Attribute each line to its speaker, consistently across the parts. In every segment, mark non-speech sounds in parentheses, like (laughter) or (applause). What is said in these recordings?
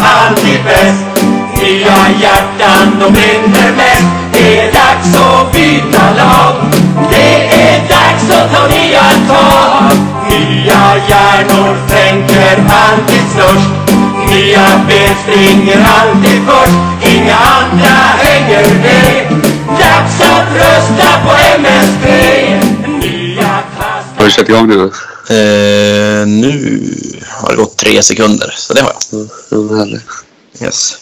Speaker 1: alltid bäst Nya hjärtan, de brinner mest Det är dags att byta lag Det är dags att ta nya tag Nya hjärnor tänker alltid störst Nya ben springer alltid först Inga andra hänger med Dags att rösta på MSB Nya kast
Speaker 2: Har du kört igång nu? då?
Speaker 3: Eh, nu har det gått tre sekunder, så det har jag.
Speaker 2: Ja, men härligt.
Speaker 3: Yes.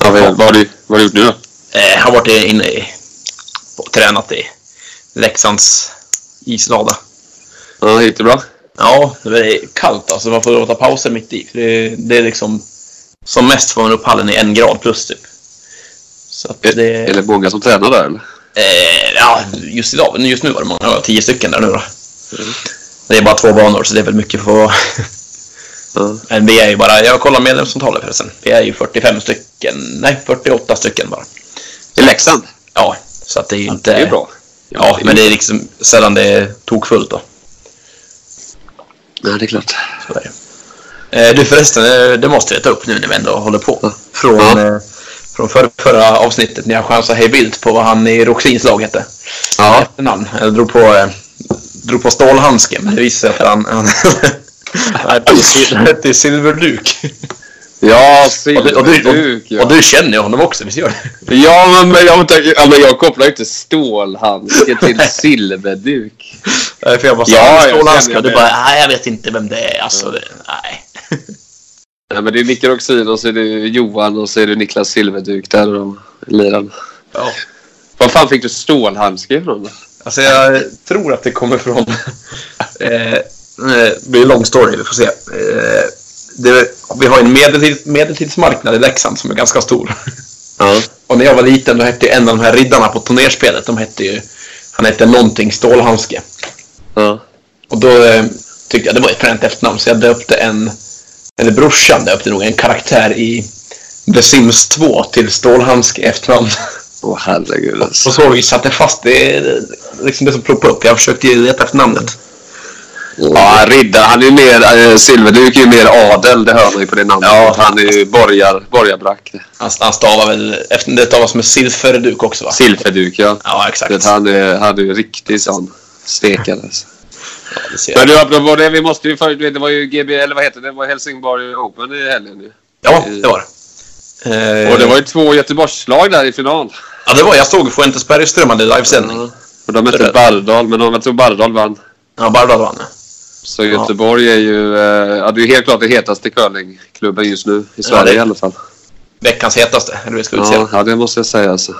Speaker 2: Ja, men vad, har du, vad har du gjort nu då?
Speaker 3: Eh, har varit inne i, och tränat i Leksands islada.
Speaker 2: Ja, gick det bra?
Speaker 3: Ja, det är kallt alltså. Man får ta pauser mitt i. För det, det är liksom... Som mest får man upp hallen i en grad plus typ. Så att det...
Speaker 2: Är det många som tränar där eller?
Speaker 3: Eh, ja, just idag. Just nu var det många. Det var tio stycken där nu då. Mm. Det är bara två banor så det är väl mycket för...
Speaker 2: Ja.
Speaker 3: Men vi är ju bara... Jag kollar medlemsantalet förresten. Vi är ju 45 stycken. Nej, 48 stycken bara.
Speaker 2: I Leksand?
Speaker 3: Ja, så att det är ju inte...
Speaker 2: Det är bra.
Speaker 3: Ja, men det är liksom sällan det är tokfullt då.
Speaker 2: Nej, det är klart.
Speaker 3: Så är det. Eh, Du förresten, eh, det måste jag ta upp nu när vi ändå håller på. Från,
Speaker 2: Ja.
Speaker 3: eh, från förra, förra avsnittet när jag chansade hej vilt på vad han i Roxins lag hette.
Speaker 2: Ja.
Speaker 3: Efternamn. Jag drog på, eh, drog på stålhandsken men det visade sig att
Speaker 2: (laughs)
Speaker 3: han... han han hette (laughs) Sil- han hette Silverduk.
Speaker 2: Ja,
Speaker 3: Och du, och, du,
Speaker 2: silverduk
Speaker 3: och, och
Speaker 2: ja.
Speaker 3: du känner ju honom också, visst gör du?
Speaker 2: Ja, men, men, jag, tänker- ja, men jag kopplar ju inte stålhandske (laughs) till silverduk.
Speaker 3: Eh, För jag bara
Speaker 2: Ja, jag
Speaker 3: ja,
Speaker 2: känner
Speaker 3: stålhandske och
Speaker 2: jag
Speaker 3: du
Speaker 2: det.
Speaker 3: bara nej jag vet inte vem det är. Alltså, det, nej.
Speaker 2: Nej, men det är Micke Roxin och så är det Johan och så är det Niklas Silverduk där och de lirarna.
Speaker 3: Ja.
Speaker 2: Var fan fick du stålhandske ifrån då?
Speaker 3: Alltså jag tror att det kommer från... (laughs) Eh, eh, det blir en lång story, vi får se. Eh, det, vi har en medeltid, medeltidsmarknad i Leksand som är ganska stor.
Speaker 2: Ja.
Speaker 3: Och när jag var liten då hette ju en av de här riddarna på turnerspelet, de hette ju... Han hette någonting Stålhandske.
Speaker 2: ja.
Speaker 3: Och då eh, tyckte jag det var ett fränt efternamn så jag döpte en... Eller brorsan döpte nog en karaktär i The Sims 2 till Stålhandske i efternamn. (laughs)
Speaker 2: Åh herregud alltså.
Speaker 3: På så vis satte jag fast det, det, liksom det som ploppade upp. Jag försökte ju leta efter namnet.
Speaker 2: Ja, riddare. Han är ju mer, eh, silverduk är ju mer adel, det hör man ju på det namnet.
Speaker 3: Ja.
Speaker 2: Han är ju borgar, borgarbrack.
Speaker 3: Han, han stavar väl, efter det stavas med silferduk också va?
Speaker 2: Silverduk ja.
Speaker 3: Ja,
Speaker 2: Du vet,
Speaker 3: exakt.
Speaker 2: han är, han är ju riktig sån stekare. Alltså.
Speaker 3: Ja, det ser
Speaker 2: Men
Speaker 3: jag.
Speaker 2: du, apropå det, vi måste ju för, du vet, det var ju GB, eller vad heter det, det var Helsingborg Open i helgen ju.
Speaker 3: ja, det var det. Eh,
Speaker 2: Och det var ju två Göteborgslag där i final.
Speaker 3: Ja, det var Jag såg Fuentesberg strömmande i livesändning.
Speaker 2: Och de mötte Bardal, men de- jag tror Bardal vann.
Speaker 3: Ja, Bardal vann.
Speaker 2: Så Göteborg är ju, eh, ja det är ju helt klart den hetaste curlingklubben just nu. I Sverige
Speaker 3: det-
Speaker 2: i alla fall.
Speaker 3: Veckans hetaste, eller hur vi ska utse
Speaker 2: Ja, ja, det måste jag säga alltså.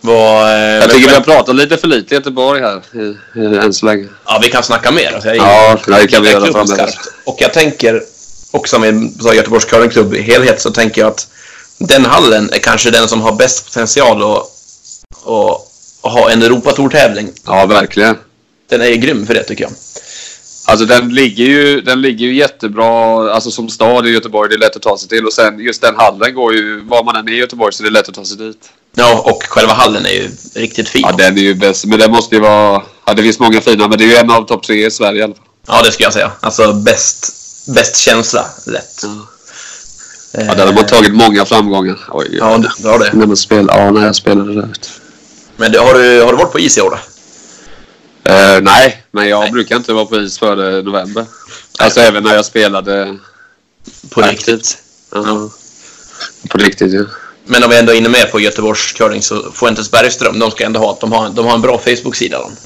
Speaker 3: var, eh,
Speaker 2: Jag tycker vi har pratat lite för lite Göteborg här i, i, än så länge.
Speaker 3: Ja, vi kan snacka mer. Alltså, jag
Speaker 2: Ja, det kan vi göra
Speaker 3: klubben
Speaker 2: framöver.
Speaker 3: skarpt. Och jag tänker också med så här, Göteborgs curlingklubb i helhet så tänker jag att den hallen är kanske den som har bäst potential att, att, att ha en Europatour-tävling.
Speaker 2: Ja, verkligen.
Speaker 3: Den är ju grym för det tycker jag.
Speaker 2: Alltså den ligger ju, den ligger ju jättebra alltså, som stad i Göteborg. Det är lätt att ta sig till. Och sen just den hallen går ju, var man än är i Göteborg så det är lätt att ta sig dit.
Speaker 3: Ja, och själva hallen är ju riktigt fin.
Speaker 2: Ja, den är ju bäst. Men den måste ju vara... Ja, det finns många fina, men det är ju en av topp tre i Sverige i alla fall.
Speaker 3: Ja, det skulle jag säga. Alltså bäst, bäst känsla, lätt. Eh,
Speaker 2: Ja, där har man tagit många framgångar. Oj,
Speaker 3: Ja,
Speaker 2: gud.
Speaker 3: du har det.
Speaker 2: När man spelar, ja, när jag spelade där ute.
Speaker 3: Men du, har, du, har du varit på is i år då?
Speaker 2: Eh, nej, men jag
Speaker 3: Nej.
Speaker 2: brukar inte vara på is före november. Alltså även när jag spelade
Speaker 3: På
Speaker 2: aktivt. Ja. På riktigt ju.
Speaker 3: Men om vi ändå är inne med på Göteborgs curling så Fuentes Bergström, de ska ändå ha att de har, de har en bra Facebook-sida. De.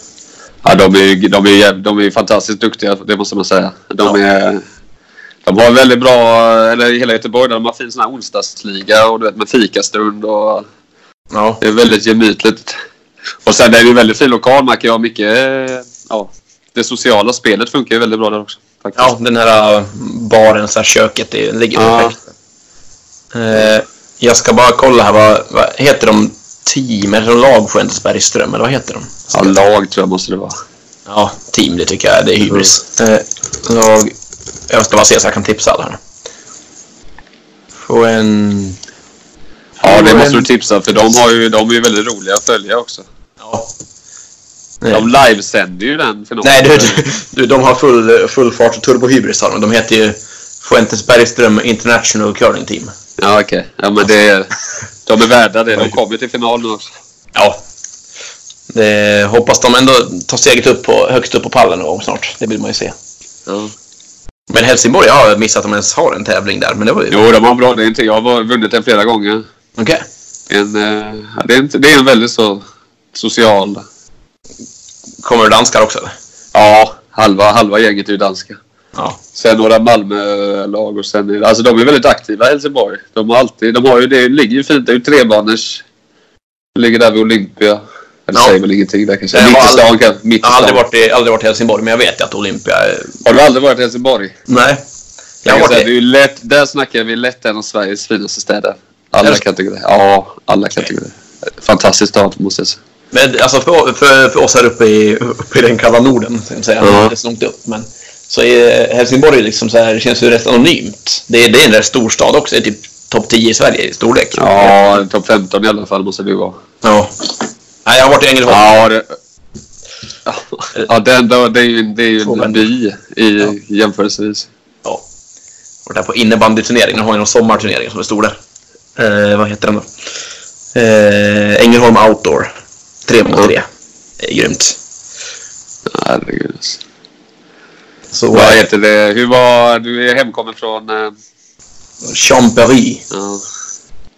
Speaker 2: Ja, de är ju de är, jäv- de är ju fantastiskt duktiga, det måste man säga. De,
Speaker 3: Ja.
Speaker 2: är, de har en väldigt bra, eller i hela Göteborg, där de har fin sån här onsdagsliga och du vet med fikastund och
Speaker 3: Ja.
Speaker 2: det är väldigt gemytligt. Och sen är det ju väldigt fin lokal märker jag. Mycket, eh, ja, det sociala spelet funkar ju väldigt bra där också. Faktiskt.
Speaker 3: ja, den här äh, baren, så här köket, det ligger
Speaker 2: Ja.
Speaker 3: perfekt. Eh, jag ska bara kolla här, vad, vad heter de? Team, eller lag Fuentes Bergström, eller vad heter de?
Speaker 2: Ja, lag tror jag måste det vara.
Speaker 3: Ja, team det tycker jag. Det är hybris.
Speaker 2: Mm.
Speaker 3: Eh, jag, jag ska bara se så jag kan tipsa alla här. Få en...
Speaker 2: Ja, det
Speaker 3: Men-
Speaker 2: måste du tipsa för de, har ju, de är ju väldigt roliga att följa också.
Speaker 3: Ja.
Speaker 2: De livesänder ju den finalen.
Speaker 3: Nej, du, du, du, de har full, full fart och turbo hybris har de. De heter ju Fuentes Bergström International Curling Team.
Speaker 2: Ja, okej. Ja, men det är, de är värda det. De kommer ju till final nu också.
Speaker 3: Ja. Det, hoppas de ändå tar steget upp på, högt upp på pallen någon gång snart. Det vill man ju se.
Speaker 2: Ja.
Speaker 3: Men Helsingborg, jag har missat att de ens har en tävling där. Men det var ju...
Speaker 2: Jo, de har en bra del till. Jag har vunnit den flera gånger.
Speaker 3: Okej.
Speaker 2: En, eh, ja, det, är en, det är en väldigt så social...
Speaker 3: Kommer det danskar också eller?
Speaker 2: Ja, halva, halva gänget är ju danska.
Speaker 3: Ja.
Speaker 2: Sen några Malmö-lag och sen... är det- Alltså de är väldigt aktiva i Helsingborg. De har alltid... De har ju... Det ligger ju fint. Det är ju trebaners. Ligger där vid Olympia. Eller
Speaker 3: Ja.
Speaker 2: säger väl ingenting där kanske.
Speaker 3: Jag har
Speaker 2: Mitt i
Speaker 3: aldrig-
Speaker 2: stan kanske. Mitt i
Speaker 3: Jag har aldrig
Speaker 2: stan.
Speaker 3: varit i, aldrig varit i Helsingborg, men jag vet ju att Olympia är...
Speaker 2: Har du aldrig varit i Helsingborg?
Speaker 3: Nej.
Speaker 2: Jag
Speaker 3: Jag har
Speaker 2: kan säga,
Speaker 3: varit
Speaker 2: det är
Speaker 3: i...
Speaker 2: ju lätt, där snackar vi lätt en av Sveriges finaste städer.
Speaker 3: Är
Speaker 2: Alla
Speaker 3: det-
Speaker 2: kategorier. Ja, alla kategorier. Fantastisk stad måste jag säga.
Speaker 3: Men alltså för, för, för oss här uppe i, uppe i den kalla Norden, ska jag säga.
Speaker 2: Ja.
Speaker 3: Det är så långt upp, men... Så är Helsingborg liksom så här, det känns ju rätt anonymt. Det är, det är en rätt stor stad också. Det är typ topp 10 i Sverige i storlek.
Speaker 2: Ja, topp 15 i alla fall måste vi vara.
Speaker 3: Ja. Nej, jag har varit i Ängelholm.
Speaker 2: Ja, det... Ja, den, då- det är ju, det är ju
Speaker 3: Två
Speaker 2: en
Speaker 3: vänner.
Speaker 2: by i
Speaker 3: Ja.
Speaker 2: jämförelsevis.
Speaker 3: Ja. Varit där på innebandyturnering. De har ju någon sommarturnering som är stor där. Eh, vad heter den då? Eh, Ängelholm Outdoor. Tre mot tre. Eh, grymt.
Speaker 2: Herregud. alltså.
Speaker 3: Så
Speaker 2: Vad
Speaker 3: eh,
Speaker 2: heter det? Hur var... Du är hemkommen från... eh,
Speaker 3: Champéry.
Speaker 2: Ja.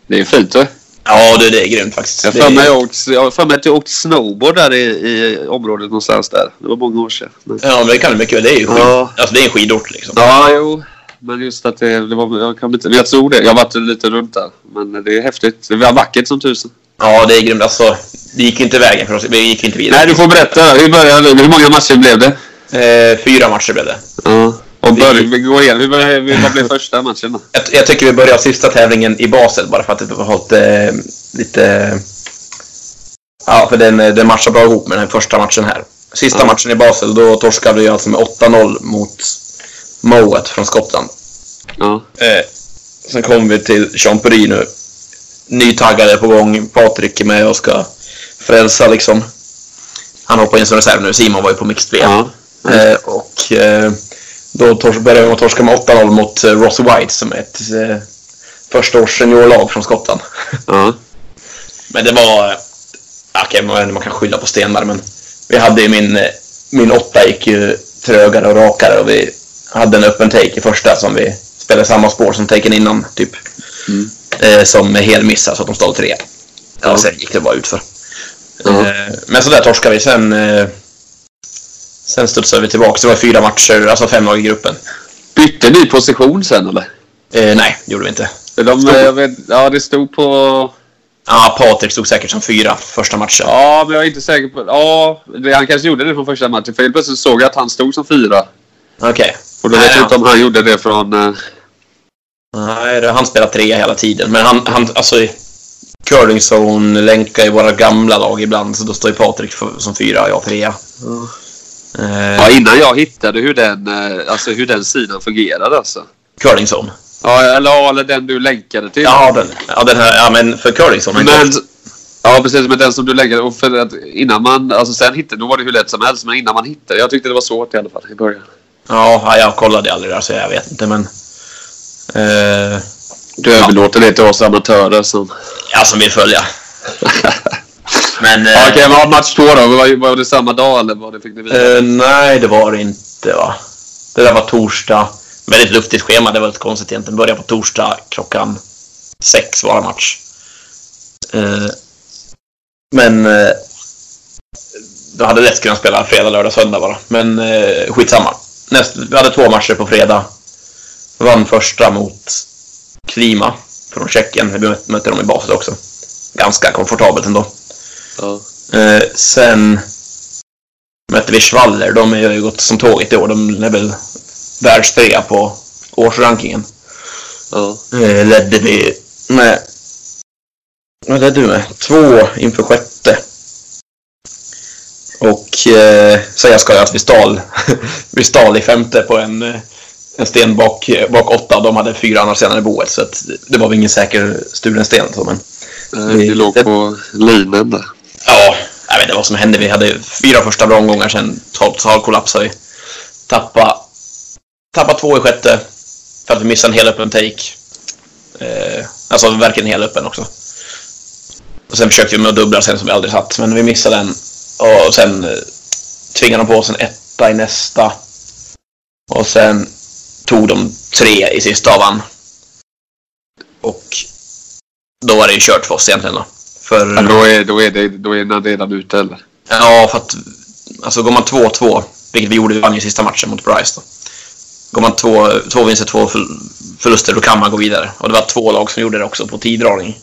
Speaker 2: Det är fint du.
Speaker 3: Ja, du, det är grymt faktiskt.
Speaker 2: Jag har
Speaker 3: Det
Speaker 2: för
Speaker 3: är-
Speaker 2: mig jag åkt- jag har för mig att jag åkt snowboard där i, i området någonstans där. Det var många år sedan. Men-
Speaker 3: Ja, men det kan du mycket väl. Det är ju skid...
Speaker 2: Ja.
Speaker 3: alltså, det är en skidort liksom.
Speaker 2: Ja, jo. Men just att det, det var... Jag, kan inte, men jag tror det. Jag har varit lite runt där. Men det är häftigt. Det var vackert som tusen.
Speaker 3: Ja, det är grymt. Alltså, det gick inte vägen för oss. Vi gick inte vidare.
Speaker 2: Nej, du får berätta. Hur började det? Hur många matcher blev det?
Speaker 3: Eh, fyra matcher blev det.
Speaker 2: Ja. Och började vi gå igen. Hur började, vi- vad blev första matchen då?
Speaker 3: Jag, jag tycker vi börjar sista tävlingen i Basel bara för att det har hållit eh, lite... Ja, för den, eh, den matchar bra ihop med den första matchen här. Sista
Speaker 2: Ja.
Speaker 3: matchen i Basel, då torskade vi alltså med 8-0 mot Mowat från Skottland.
Speaker 2: Ja.
Speaker 3: Eh, sen kom vi till Champery nu. Nytaggade på gång. Patrik är med och ska frälsa liksom. Han hoppar in som reserv nu. Simon var ju på mixed VM.
Speaker 2: Ja.
Speaker 3: Eh, och eh, då tors- började vi med att torska med 8-0 mot eh, Ross White som är ett eh, första års seniorlag från Skottland.
Speaker 2: Ja.
Speaker 3: Men det var... eh, Okej, man, man kan skylla på stenar, men vi hade ju min... eh, Min åtta gick ju trögare och rakare och vi hade en öppen take i första som vi spelade samma spår som taken innan, typ.
Speaker 2: Mm.
Speaker 3: Eh, som med hel missar så att de stal tre. Ja.
Speaker 2: Ja.
Speaker 3: Och sen gick det bara utför.
Speaker 2: Ja.
Speaker 3: Eh, men så där torskade vi. Sen, eh, sen studsade vi tillbaka. Så det var fyra matcher, alltså fem lag i gruppen.
Speaker 2: Bytte ni position sen eller?
Speaker 3: Eh, nej, det gjorde vi inte.
Speaker 2: De, eh, jag vet, ja, det stod på...
Speaker 3: Ja, Patrik stod säkert som fyra första matchen.
Speaker 2: Ja, men jag är inte säker på... Ja, det, han kanske gjorde det från första matchen. För helt plötsligt såg jag att han stod som fyra.
Speaker 3: Okej.
Speaker 2: Och då
Speaker 3: Nej,
Speaker 2: vet jag
Speaker 3: han-
Speaker 2: inte om han gjorde det från... eh,
Speaker 3: Nej, det- han spelar trea hela tiden. Men han, han alltså... Curlingzone länkar ju våra gamla lag ibland, så då står ju Patrik för- som fyra och jag trea. Eh,
Speaker 2: Ja, innan jag hittade hur den, eh, alltså hur den sidan fungerade alltså.
Speaker 3: Curlingzone.
Speaker 2: Ja, eller, ja, eller den du länkade till.
Speaker 3: Ja, den, ja, den här, ja, men för Curlingzone. har inte-
Speaker 2: men, ja, precis. Men den som du länkade. Och för att innan man, alltså sen hittade, då var det hur lätt som helst. Men innan man hittade. Jag tyckte det var svårt i alla fall i början.
Speaker 3: Ja, ja, jag kollade aldrig där, så jag vet inte, men... Eh,
Speaker 2: Du överlåter det till oss amatörer som...
Speaker 3: ja, som vill följa. Men...
Speaker 2: (laughs)
Speaker 3: Eh,
Speaker 2: Ja, Okej, men match två då. Var, var det samma dag eller var det, fick ni vidare?
Speaker 3: eh, nej, det var det inte, va? Det där var torsdag. Väldigt luftigt schema, det var lite konstigt egentligen. Började på torsdag klockan sex var det match. Eh, men... Eh, då hade lätt kunnat spela fredag, lördag, söndag bara. Men eh, skitsamma. Näst, vi hade två matcher på fredag. Vann första mot Klima från Tjeckien. Vi mö- mötte dem i baset också. Ganska komfortabelt ändå.
Speaker 2: Ja.
Speaker 3: Eh, sen mötte vi Schwaller. De har ju gått som tåget i år. De är väl världstrea på årsrankingen.
Speaker 2: Ja.
Speaker 3: Eh, ledde vi med... Vad ledde vi med? Två inför sjätte. Och eh, säga ska jag att vi stal, (laughs) vi stal i femte på en, eh, en sten bak, bak åtta. De hade fyra andra stenar i boet, så att det var väl ingen säker stulen sten. Så, men...
Speaker 2: Eh, Det låg på linan där.
Speaker 3: Ja, jag vet inte vad som hände. Vi hade fyra första bra omgångar, sen total kollapsade vi. Tappa, tappa två i sjätte för att vi missade en hel öppen take. Eh,
Speaker 4: alltså verkligen helöppen också. Och sen försökte vi med att dubbla sen som vi aldrig satt, men vi missade den. Och sen eh, tvingade de på oss en etta i nästa. Och sen tog de tre i sista avan. Och då var det ju kört för oss egentligen då. För...
Speaker 2: Ja, då, är, då, är det, då är den redan ute eller?
Speaker 4: Ja, för att alltså, går man 2-2, vilket vi gjorde, vi vann ju sista matchen mot Bryce då. Går man två, två vinster, två förl- förluster, då kan man gå vidare. Och det var två lag som gjorde det också på tiddragning.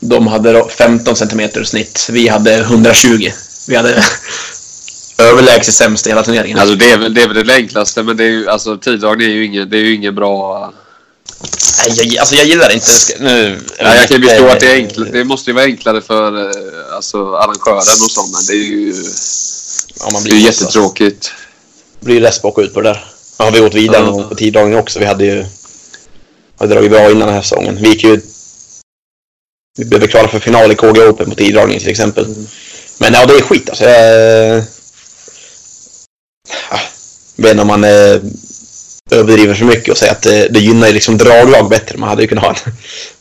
Speaker 4: De hade då 15 centimeter i snitt, vi hade 120. Vi
Speaker 2: (laughs)
Speaker 4: hade överlägset sämst i hela turneringen.
Speaker 2: Alltså det är väl det, är väl det enklaste men det är ju, alltså tiddragning är ju ingen, det är ju ingen bra...
Speaker 4: Nej, jag, alltså, jag gillar inte... Nu,
Speaker 2: Ja, jag kan ju förstå att det är enklare. Det måste ju vara enklare för eh, alltså, arrangören och så men det är ju,
Speaker 3: Ja, man
Speaker 2: det är ju
Speaker 3: blir,
Speaker 2: jättetråkigt.
Speaker 3: blir less bak och ut på det där. Ja, vi åt vidare
Speaker 2: Ja.
Speaker 3: någon gång på tiddragning också. Vi hade ju hade dragit bra innan den här säsongen. Vi gick ju... Vi blev klara för final i KG Open på tiddragning till exempel. Men ja, det är skit alltså. Jag, ja, vet inte om man eh, överdriver för mycket och säger att det, det gynnar ju liksom draglag bättre. Man hade ju kunnat ha en, (laughs)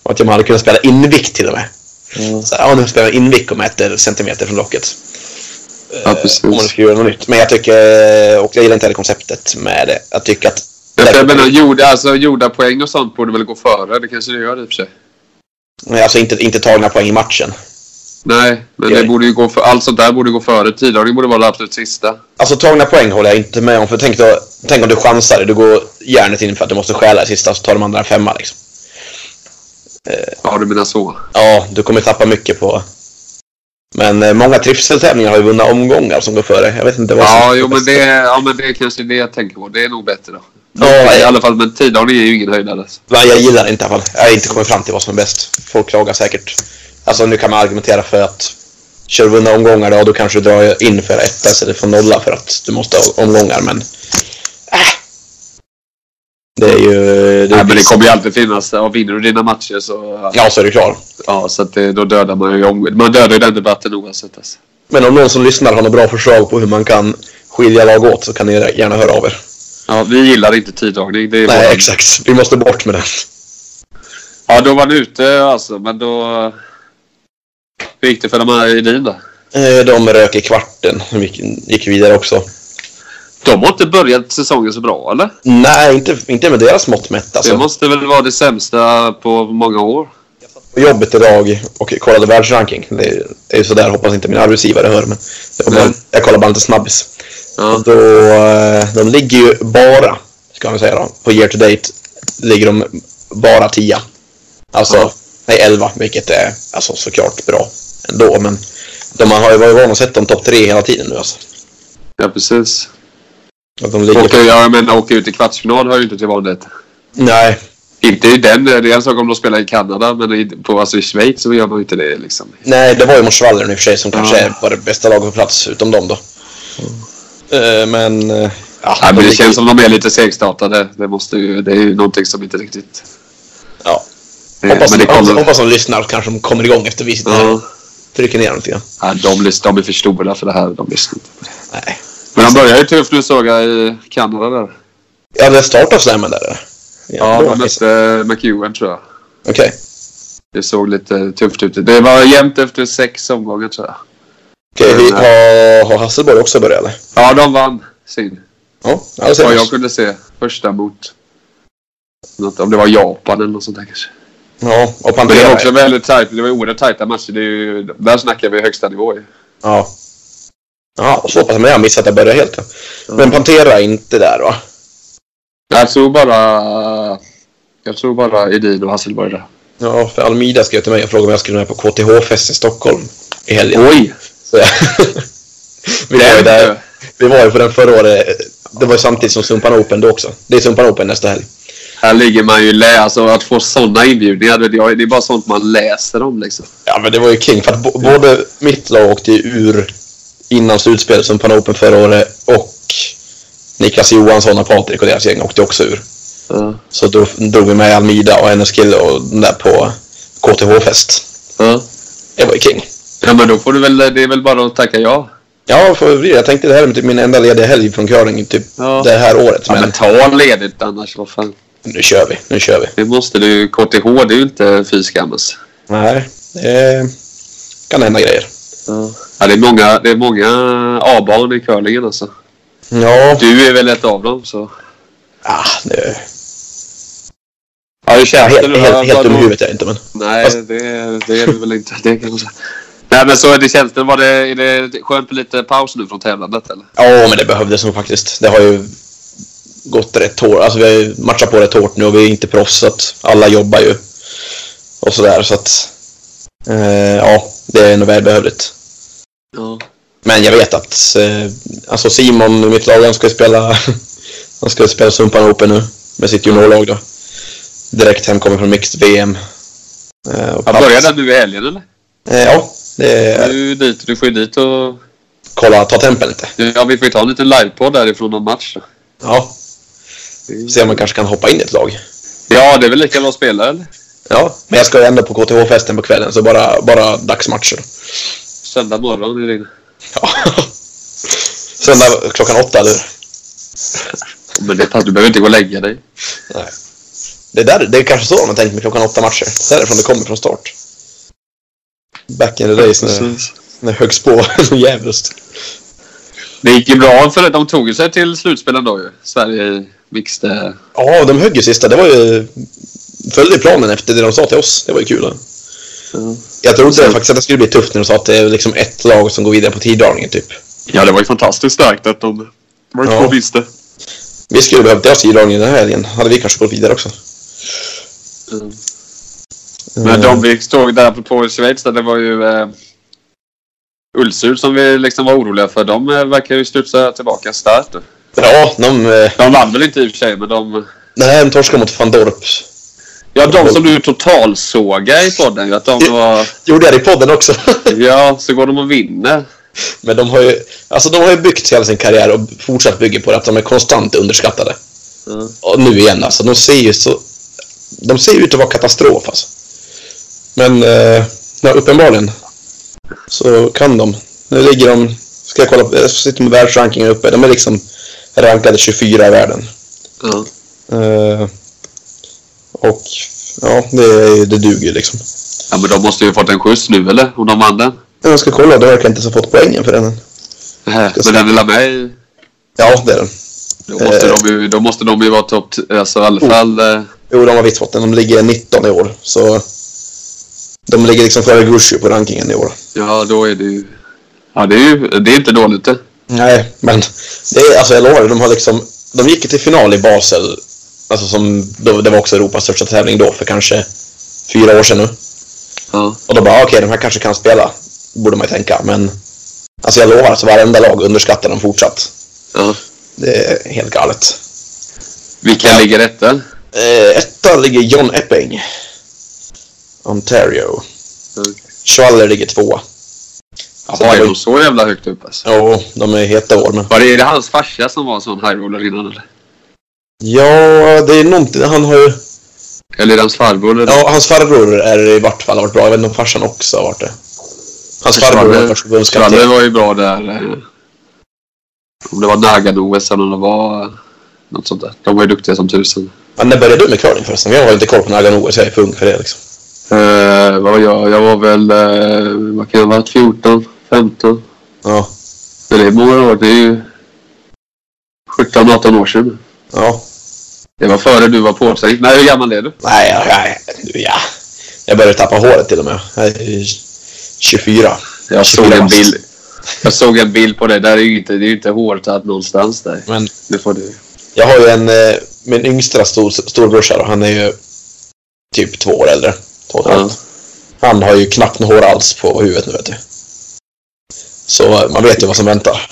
Speaker 3: att man hade kunnat spela invikt till och med. Så, här, ja, nu spelar jag invikt och mäter centimeter från locket.
Speaker 2: Ja,
Speaker 3: Eh,
Speaker 2: precis.
Speaker 3: Om man ska göra något nytt. Men jag tycker, och jag gillar inte heller konceptet med det. Jag tycker att...
Speaker 2: Men för jag menar, gjorda, alltså, gjorda poäng och sånt borde väl gå före? Det kanske det gör i och för sig.
Speaker 3: Nej, Alltså inte, inte tagna poäng i matchen.
Speaker 2: Nej, men det
Speaker 3: Nej.
Speaker 2: borde ju gå för, allt sånt där borde gå före. Tiddragning borde vara det absolut sista.
Speaker 3: Alltså tagna poäng håller jag inte med om. För tänk, då, tänk om du chansar. Du går järnet in för att du måste stjäla i sista, så tar de andra en femma liksom.
Speaker 2: Ja, du menar så.
Speaker 3: Ja, du kommer tappa mycket på... Men eh, många trivseltävlingar har ju vunnit omgångar som går före. Jag vet inte vad som...
Speaker 2: Ja, jo, men det, ja, men det är kanske det jag tänker på. Det är nog bättre då.
Speaker 3: Ja,
Speaker 2: I
Speaker 3: jag,
Speaker 2: alla fall, men tiddragning är ju ingen höjdare. alltså.
Speaker 3: nej, jag gillar det inte i alla fall. Jag har inte kommit fram till vad som är bäst. Folk klagar säkert. Alltså nu kan man argumentera för att kör du vunna omgångar då, då kanske du drar in för etta istället för nolla för att du måste ha omgångar, men... Äh. Det är ju... Det är
Speaker 2: Nej, men det kommer ju alltid finnas. Ja, vinner du dina matcher så...
Speaker 3: Ja, så är du klar.
Speaker 2: Ja, så att det, då dödar man ju om, Man dödar ju den debatten oavsett. Alltså.
Speaker 3: Men om någon som lyssnar har några bra förslag på hur man kan skilja lag åt så kan ni gärna höra av er. Mm.
Speaker 2: Ja, vi gillar inte tiddragning. Det är
Speaker 3: Nej,
Speaker 2: vår-
Speaker 3: exakt. Vi måste bort med den.
Speaker 2: Ja, då var ni ute alltså, men då... Hur gick det för de här i din då?
Speaker 3: Eh, De rök i kvarten. De gick, gick vidare också.
Speaker 2: De har inte börjat säsongen så bra, eller?
Speaker 3: Nej, inte, inte med deras mått mätt. Alltså.
Speaker 2: Det måste väl vara det sämsta på många år?
Speaker 3: på jobbet idag och kollade världsranking. Det är- det är ju sådär, hoppas inte min arbetsgivare hör. Men det var bara,
Speaker 2: Mm.
Speaker 3: Jag kollar bara lite snabbis.
Speaker 2: Ja.
Speaker 3: Och då, eh, de ligger ju bara, ska man säga då, på year to date ligger de bara 10. Alltså,
Speaker 2: Ja.
Speaker 3: nej 11, vilket är alltså, såklart bra ändå. Men de har ju varit vana att sett dem topp 3 hela tiden nu alltså.
Speaker 2: Ja, precis.
Speaker 3: Att de ligger
Speaker 2: Och ja, jag menar, åka ut i kvartsfinal hör ju inte till vanligt.
Speaker 3: Nej,
Speaker 2: Inte i den. Det är en sak om de spelar i Kanada, men i, på, alltså, i Schweiz så gör man ju inte det liksom.
Speaker 3: nej, det var ju mot Schwallern i och för sig som kanske
Speaker 2: Ja.
Speaker 3: är var det bästa laget på plats, utom dem då. Eh, Men, eh, ja,
Speaker 2: Nej,
Speaker 3: de
Speaker 2: men det
Speaker 3: ligger-
Speaker 2: känns som de är lite segstartade. Det, måste ju, det är ju någonting som inte riktigt...
Speaker 3: ja.
Speaker 2: Eh,
Speaker 3: Hoppas,
Speaker 2: men det
Speaker 3: hoppas,
Speaker 2: kommer.
Speaker 3: hoppas de lyssnar och kanske de kommer igång efter vi sitter här
Speaker 2: Ja.
Speaker 3: och trycker ner dem lite grann.
Speaker 2: Ja, de, lys- de är för stora för det här. De lyssnar inte.
Speaker 3: Nej.
Speaker 2: Men de börjar ju tufft nu såg jag i Kanada där.
Speaker 3: Ja, det startar slammen där eller?
Speaker 2: Ja,
Speaker 3: bra.
Speaker 2: de mötte McEwen tror jag.
Speaker 3: Okej.
Speaker 2: Det såg lite tufft ut. Det var jämnt efter sex omgångar tror jag.
Speaker 3: Okej,
Speaker 2: Eh,
Speaker 3: vi har, har Hasselborg också börjat eller?
Speaker 2: Ja, de vann sin.
Speaker 3: Ja, ja, det ser
Speaker 2: Vad
Speaker 3: vi.
Speaker 2: jag kunde se. Första mot... Något, om det var Japan eller något sånt där kanske.
Speaker 3: Ja, och
Speaker 2: Men det
Speaker 3: Pantera.
Speaker 2: var också väldigt tajt. Det var ju oerhört tajta matcher. Det är ju, där snackar vi högsta nivå ju.
Speaker 3: Ja. Ja, och så hoppas jag men jag har missat att jag börjar helt. Ja. Men Pantera är inte där va?
Speaker 2: Jag tror bara... Jag tror bara Edin och Hasselborg där.
Speaker 3: Ja, för Almida skrev till mig och frågade om jag skulle vara med på KTH-fest i Stockholm i helgen.
Speaker 2: Oj!
Speaker 3: Så jag... (laughs) vi, var ju
Speaker 2: Där.
Speaker 3: där, vi var ju på den förra året. Det var ju samtidigt som Sumpan Open då också. Det är Sumpan Open nästa helg.
Speaker 2: Här ligger man ju lä. Alltså att få sådana inbjudningar. Det är det är bara sånt man läser om liksom.
Speaker 3: Ja, men det var ju king. För att bo-
Speaker 2: Mm.
Speaker 3: både mitt lag åkte ju ur innan slutspelet som Pan Open förra året och Niklas Johansson och Patrik och deras gäng åkte också ur.
Speaker 2: Ja.
Speaker 3: Så då drog vi med Almida och hennes kille och den där på KTH-fest.
Speaker 2: Ja.
Speaker 3: Det var ju king.
Speaker 2: Ja men då får du väl, det är väl bara att tacka ja.
Speaker 3: Ja, för det. jag tänkte det här är typ min enda lediga helg från curling typ
Speaker 2: Ja.
Speaker 3: det här året.
Speaker 2: Ja,
Speaker 3: Men
Speaker 2: men ta ledigt annars, vad fan.
Speaker 3: nu kör vi, nu kör vi.
Speaker 2: Det måste du... KTH, det är ju inte fy alltså. skammes.
Speaker 3: Nej, det kan hända grejer.
Speaker 2: Ja, det är många, det är många A-barn i curlingen alltså.
Speaker 3: Ja,
Speaker 2: Du är väl ett av dem så...
Speaker 3: ah, nu.
Speaker 2: Ja, hur känns
Speaker 3: Helt,
Speaker 2: det?
Speaker 3: helt, helt dum i huvudet är jag inte, men.
Speaker 2: Nej,
Speaker 3: Fast-
Speaker 2: det, det är det väl inte. Det kan man säga. Nej, men så är det känns det. Var det, är det skönt med lite paus nu från tävlandet eller?
Speaker 3: Ja, men det behövdes nog faktiskt. Det har ju gått rätt hårt. Alltså, vi har ju matchat på rätt hårt nu och vi är inte proffs, så att alla jobbar ju. Och sådär, så att... Eh, ja, det är nog välbehövligt.
Speaker 2: Ja.
Speaker 3: Men jag vet att eh, alltså Simon, mitt lag, han ska ju spela, (laughs) han ska ju spela Sumpan Open nu med sitt juniorlag då. Direkt hemkommen från Mixed VM. Eh, och
Speaker 2: Jag
Speaker 3: pappa-
Speaker 2: började nu i helgen eller?
Speaker 3: Eh, ja, det
Speaker 2: Du, är
Speaker 3: är,
Speaker 2: ju dit, du får ju dit och...
Speaker 3: kolla, ta tempen lite.
Speaker 2: Ja, vi får ju ta en liten livepodd därifrån någon match. Då.
Speaker 3: Ja, se om man kanske kan hoppa in i ett lag.
Speaker 2: Ja, det är väl lika bra att spela eller?
Speaker 3: Ja, men jag ska ju ändå på KTH-festen på kvällen så bara, bara dagsmatcher.
Speaker 2: Söndag morgon är det inne.
Speaker 3: Ja. (laughs) Söndag klockan åtta, eller hur?
Speaker 2: Men det passar, du behöver inte gå och lägga dig.
Speaker 3: Nej. Det, där, det är kanske så de har tänkt med klockan åtta matcher. Därifrån det kommer från start. Back in the days
Speaker 2: Mm.
Speaker 3: när, när högst på (laughs) jävligt.
Speaker 2: Det gick ju bra för att de tog ju sig till slutspelen då ju. Sverige i mixed. eh,
Speaker 3: Ja, de högg ju sista. Det var ju... Följde planen efter det de sa till oss. Det var ju kul. Jag trodde faktiskt att det skulle bli tufft när de sa att det är liksom ett lag som går vidare på tiddragningen typ.
Speaker 2: Ja, det var ju fantastiskt starkt att de... Det var ju
Speaker 3: Ja.
Speaker 2: två vinster.
Speaker 3: Vi skulle behövt deras tiddragning den här helgen. Hade vi kanske gått vidare också.
Speaker 2: Men de vi såg där på Schweiz, där det var ju eh, Ulsur som vi liksom var oroliga för. De eh, verkar ju studsa tillbaka starkt. nu.
Speaker 3: Ja, de... eh,
Speaker 2: De vann väl inte i och för sig, men de...
Speaker 3: Nej, de torskade mot van Dorp.
Speaker 2: Ja, de som du totalsåga i podden ju. Att de var...
Speaker 3: Gjorde jag det i podden också. (laughs)
Speaker 2: Ja, så går de och vinner.
Speaker 3: Men de har ju, alltså de har ju byggt hela sin karriär och fortsatt bygger på det, att de är konstant underskattade.
Speaker 2: Mm.
Speaker 3: Och nu igen alltså, de ser ju så... De ser ju ut att vara katastrof alltså. Men, eh, ja, uppenbarligen så kan de. Nu ligger de, ska jag kolla, jag sitter med världsrankingen uppe. De är liksom rankade 24 i världen.
Speaker 2: Ja.
Speaker 3: Eh, och ja, det, det duger ju liksom.
Speaker 2: ja, men de måste ju ha fått en skjuts nu eller? Om de vann den.
Speaker 3: Men Jag ska kolla, då verkar jag inte ens ha fått poängen för den än.
Speaker 2: Eh, Men den lilla mig.
Speaker 3: Ja, det är den.
Speaker 2: Då måste,
Speaker 3: Eh.
Speaker 2: de ju, då måste de ju vara topp... t- Alltså i alla fall... Eh,
Speaker 3: Jo, de har visst fått den. De ligger 19 i år. Så de ligger liksom före Gucci på rankingen i år.
Speaker 2: ja, då är det ju... Ja, det är ju... Det är inte dåligt eh. det.
Speaker 3: Nej, men det är, alltså jag lovar dig, de har liksom... De gick ju till final i Basel. Alltså som, då, det var också Europas största tävling då för kanske fyra år sedan nu.
Speaker 2: Ja.
Speaker 3: Och då bara, "Ah, okej, de här kanske kan spela. Borde man ju tänka, men... Alltså jag lovar, alltså varenda lag underskattar dem fortsatt.
Speaker 2: ja.
Speaker 3: Det är helt galet.
Speaker 2: Vilka ligger etta?
Speaker 3: Eh, etta ligger John Epping. Ontario. Mm. Schwaller ligger tvåa. Så
Speaker 2: Jaha,
Speaker 3: det
Speaker 2: är
Speaker 3: var-
Speaker 2: de så jävla högt upp alltså?
Speaker 3: Jo, de är heta år, men...
Speaker 2: Var det, är det hans farsa som var en sån highroller innan eller?
Speaker 3: Ja, det är någonting. Han har ju...
Speaker 2: Eller är det hans farbror? Eller?
Speaker 3: Ja, hans farbror är i vart fall har varit bra. Jag vet inte om farsan också har varit det. Hans farbror var först
Speaker 2: Schralle
Speaker 3: förbundskapten.
Speaker 2: var ju bra där. eh, Om det var Nagano-OS eller om det var eh, något sånt där. De var ju duktiga som tusen.
Speaker 3: Men när började du med curling förresten? Jag har ju inte koll på Nagano så jag är för ung för det liksom.
Speaker 2: Eh, vad var jag? Jag var väl, eh, vad kan jag ha varit, 14, 15?
Speaker 3: Ja.
Speaker 2: Men det är många år. Det är ju 17, 18 år sedan.
Speaker 3: Ja.
Speaker 2: Det var före du var påtänkt. Nej, hur gammal är du?
Speaker 3: Nej, jag- nej, nu, ja. Jag började tappa håret till och med. Jag är 24.
Speaker 2: Jag såg
Speaker 3: 24
Speaker 2: en
Speaker 3: bast.
Speaker 2: bild. Jag såg en bild på dig. Där är ju inte, det är ju inte hårtatt någonstans där.
Speaker 3: Men
Speaker 2: Det får du.
Speaker 3: jag har ju en... eh, Min yngsta stor, storbrorsa då, han är ju typ två år äldre. Två och ett halvt.
Speaker 2: Ja.
Speaker 3: Han har ju knappt något hår alls på huvudet nu vet du. Så eh, man vet ju vad som väntar.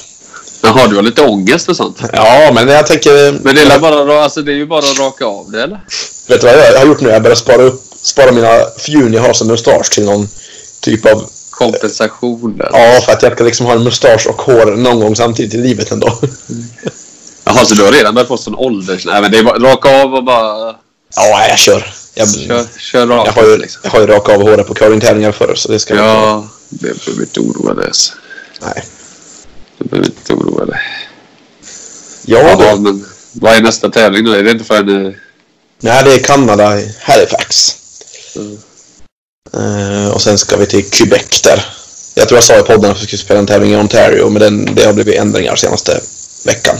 Speaker 2: Jaha, du har lite ångest och sånt.
Speaker 3: Ja, men jag tänker...
Speaker 2: Men det är, väl bara, alltså, det är ju bara att raka av det eller?
Speaker 3: Vet du vad jag har gjort nu? Jag börjar spara upp spara mina fjun jag har som mustasch till någon typ av...
Speaker 2: Kompensation. Där.
Speaker 3: Ja, för att jag ska liksom ha en mustasch och hår någon gång samtidigt i livet ändå.
Speaker 2: (laughs) Jaha, så du har redan börjat få sån ålders... Nej, men det är bara raka av och bara...
Speaker 3: Ja, jag kör. Jag,
Speaker 2: Kör, kör
Speaker 3: jag,
Speaker 2: rakt
Speaker 3: har, ju,
Speaker 2: liksom.
Speaker 3: jag har ju rakat av håret på curlingtävlingar förr, så det ska jag inte-
Speaker 2: Ja, det behöver inte oroa dig alltså.
Speaker 3: Nej.
Speaker 2: Du behöver inte oroa dig.
Speaker 3: Ja,
Speaker 2: Ja,
Speaker 3: då.
Speaker 2: men vad är nästa tävling nu? Är det inte förrän... eh,
Speaker 3: Nej, det är Kanada, i Halifax.
Speaker 2: Mm.
Speaker 3: Eh, och sen ska vi till Quebec där. Jag tror jag sa i podden att vi skulle spela en tävling i Ontario, men den, det har blivit ändringar senaste veckan.